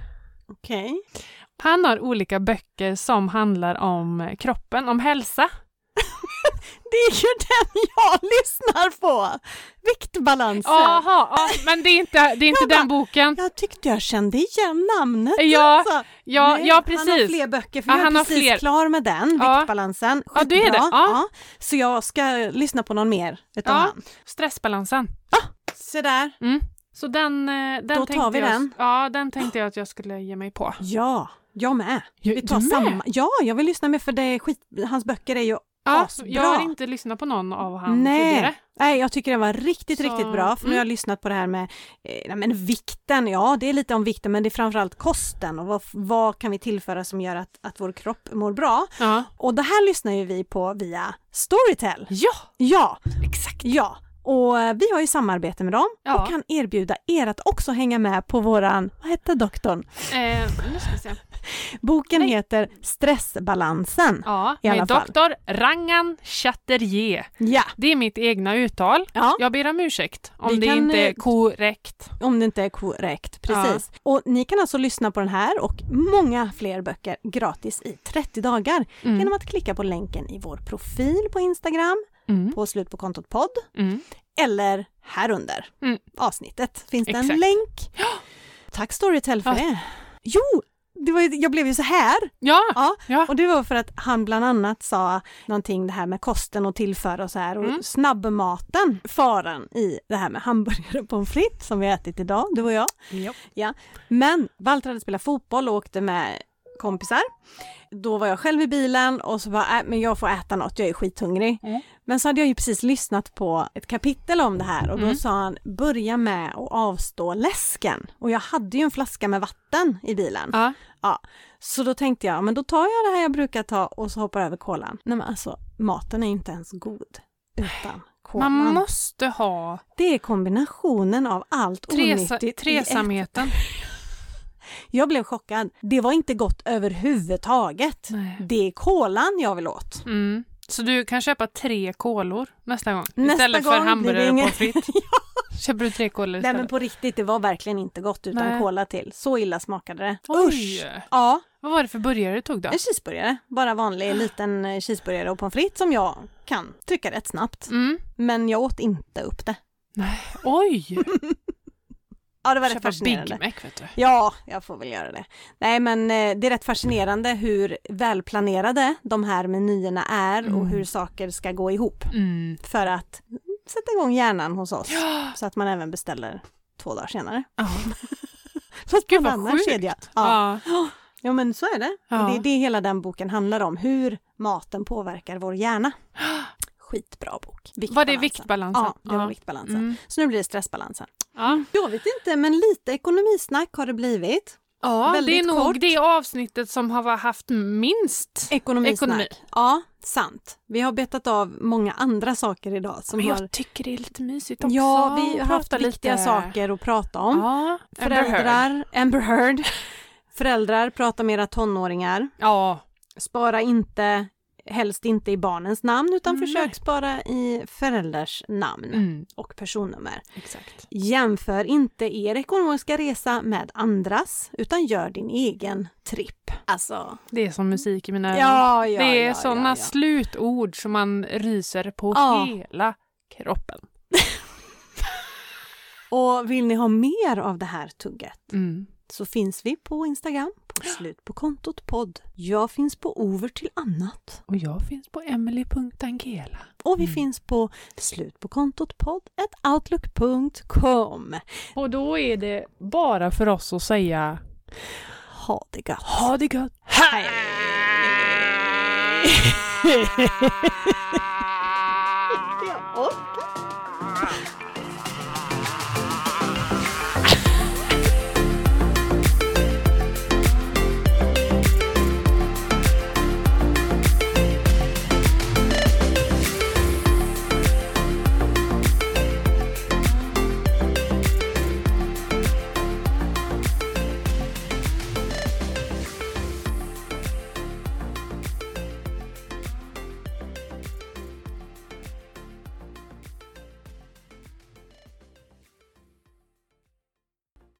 Okej.
Han har olika böcker som handlar om kroppen, om hälsa.
Det är ju den jag lyssnar på! Viktbalansen.
Jaha, ja, men det är inte, det är inte
Jag bara-
den boken.
Jag tyckte jag kände igen namnet.
Ja,
alltså.
ja,
Nej,
ja
Han har
precis.
fler böcker för
Ja,
jag
han
är
har
precis
fler.
klar med den,
Ja.
viktbalansen.
Ja, du är det.
Skitbra.
Ja.
Så jag ska lyssna på någon mer utav
Ja.
han.
Stressbalansen.
Så där.
Så den, eh, den
Då tar
tänkte
vi
jag,
den.
Ja, den tänkte jag att jag skulle ge mig på.
Ja, jag med. Vi tar
du med?
samma. Ja, jag vill lyssna mer för det är skit... hans böcker är ju
Ja,
asbra.
jag har inte lyssnat på någon av han
Nej.
tidigare.
Nej, jag tycker den var riktigt,
Så- mm.
riktigt bra. För nu har jag lyssnat på det här med eh, nej, men vikten. Ja, det är lite om vikten, men det är framförallt kosten och vad, vad kan vi tillföra som gör att, att vår kropp mår bra.
Ja.
Och det här lyssnar ju vi på via Storytel.
ja,
Ja,
exakt.
ja. Och eh, vi har ju samarbete med dem
Ja.
och kan erbjuda er att också hänga med på våran, vad hette doktorn?
Eh, nu ska vi se.
Boken
Nej.
heter Stressbalansen.
Ja,
I alla
med
fall.
doktor Rangan Chatterjee.
Ja,
Det är mitt egna uttal.
ja.
Jag ber om ursäkt om
Vi
det
kan,
inte
eh,
är korrekt.
om det inte är korrekt. Precis. Och ni kan alltså lyssna på den här och många fler böcker gratis i 30 dagar
Mm.
genom att klicka på länken i vår profil på Instagram,
Mm.
på slut på kontot podd
Mm.
eller här under
Mm.
avsnittet finns det en
Exakt.
länk. Tack Storytel för
Ja.
det. Jo, det var, ju- jag blev ju så här
Ja,
Ja,
Ja.
och det var för att han bland annat sa någonting det här med kosten och tillföra och så här och
Mm.
snabbmaten, faran i det här med hamburgare och pommes frites som vi har ätit idag, du och jag. Men Walter hade spelat fotboll och åkte med kompisar. Då var jag själv i bilen och så bara, äh, men jag får äta något, jag är skithungrig.
Mm.
Men så hade jag ju precis lyssnat på ett kapitel om det här och då
Mm.
sa han, börja med att avstå läsken. Och jag hade ju en flaska med vatten i bilen.
ja.
Ja, så då tänkte jag, men då tar jag det här jag brukar ta och så hoppar jag över kolan. Nej men alltså, maten är ju inte ens god utan kolan.
Man måste ha
Det är kombinationen av allt
tresa,
onyttigt i ett.
tresamheten.
Jag blev chockad. Det var inte gott överhuvudtaget.
Nej.
Det är kolan jag vill åt.
Mm. Så du kan köpa tre kolor nästa gång
Nästa
istället
gång
för
blir det
hamburgare och
ingen-
pommes frites. Köper du tre kolor
Nej men
istället?
på riktigt, det var verkligen inte gott utan
Nej.
kola till. Så illa smakade det.
Oj.
Ja,
Vad var det för burgare du tog då?
en cheeseburgare. Bara vanlig liten eh, cheeseburgare och pommes frites som jag kan trycka rätt snabbt.
Mm.
Men jag åt inte upp det.
Oj!
Ja, det var rätt
Köpa Big
fascinerande.
Mac vet du.
Ja, jag får väl göra det. Nej, men eh, det är rätt fascinerande hur välplanerade de här menyerna är och
Mm.
hur saker ska gå ihop
Mm.
för att mm, sätta igång hjärnan hos oss
Ja.
så att man även beställer två dagar senare.
Ja.
Fast på
Gud,
en
vad
annan
sjukt.
kedja. Ja.
Ja.
ja, men så är det.
Ja.
Och det är det hela den boken handlar om, hur maten påverkar vår hjärna. Skitbra bok.
Var
Viktbalansen.
det viktbalansen?
Ja, det var viktbalansen.
Mm.
Så nu blir det stressbalansen.
Ja,
Jag vet inte, men lite ekonomisnack har det blivit.
ja det är
Väldigt
nog
kort. Eh,
det avsnittet som har haft minst.
Ekonomisnack.
Ekonomi.
Ja, sant. Vi har betat av många andra saker idag som
Men
har...
jag tycker det är lite mysigt också.
Ja, vi har
Prata
haft viktiga saker att prata om.
Ja, Amber Heard.
Föräldrar, Amber Heard. Föräldrar, prata med era tonåringar.
Ja,
Spara inte, helst inte i barnens namn, utan
Mm, Nej.
försök spara i föräldrars namn
mm,
och personnummer.
exakt.
Jämför inte er ekonomiska resa med andras, utan gör din egen tripp. Alltså,
Det är som musik i mina öron.
ja, ja,
det är
ja,
sådana
ja, ja.
slutord som man ryser på
Ja.
hela kroppen.
Och vill ni ha mer av det här tugget
Mm.
så finns vi på Instagram, på slut på kontot podd. Jag finns på over till annat.
Och jag finns på emily.angela.
Och vi
Mm.
finns på slut på kontot podd at outlook.com.
Och då är det bara för oss att säga
Ha det gött!
ha det gött. Hej!
Jag orkar inte.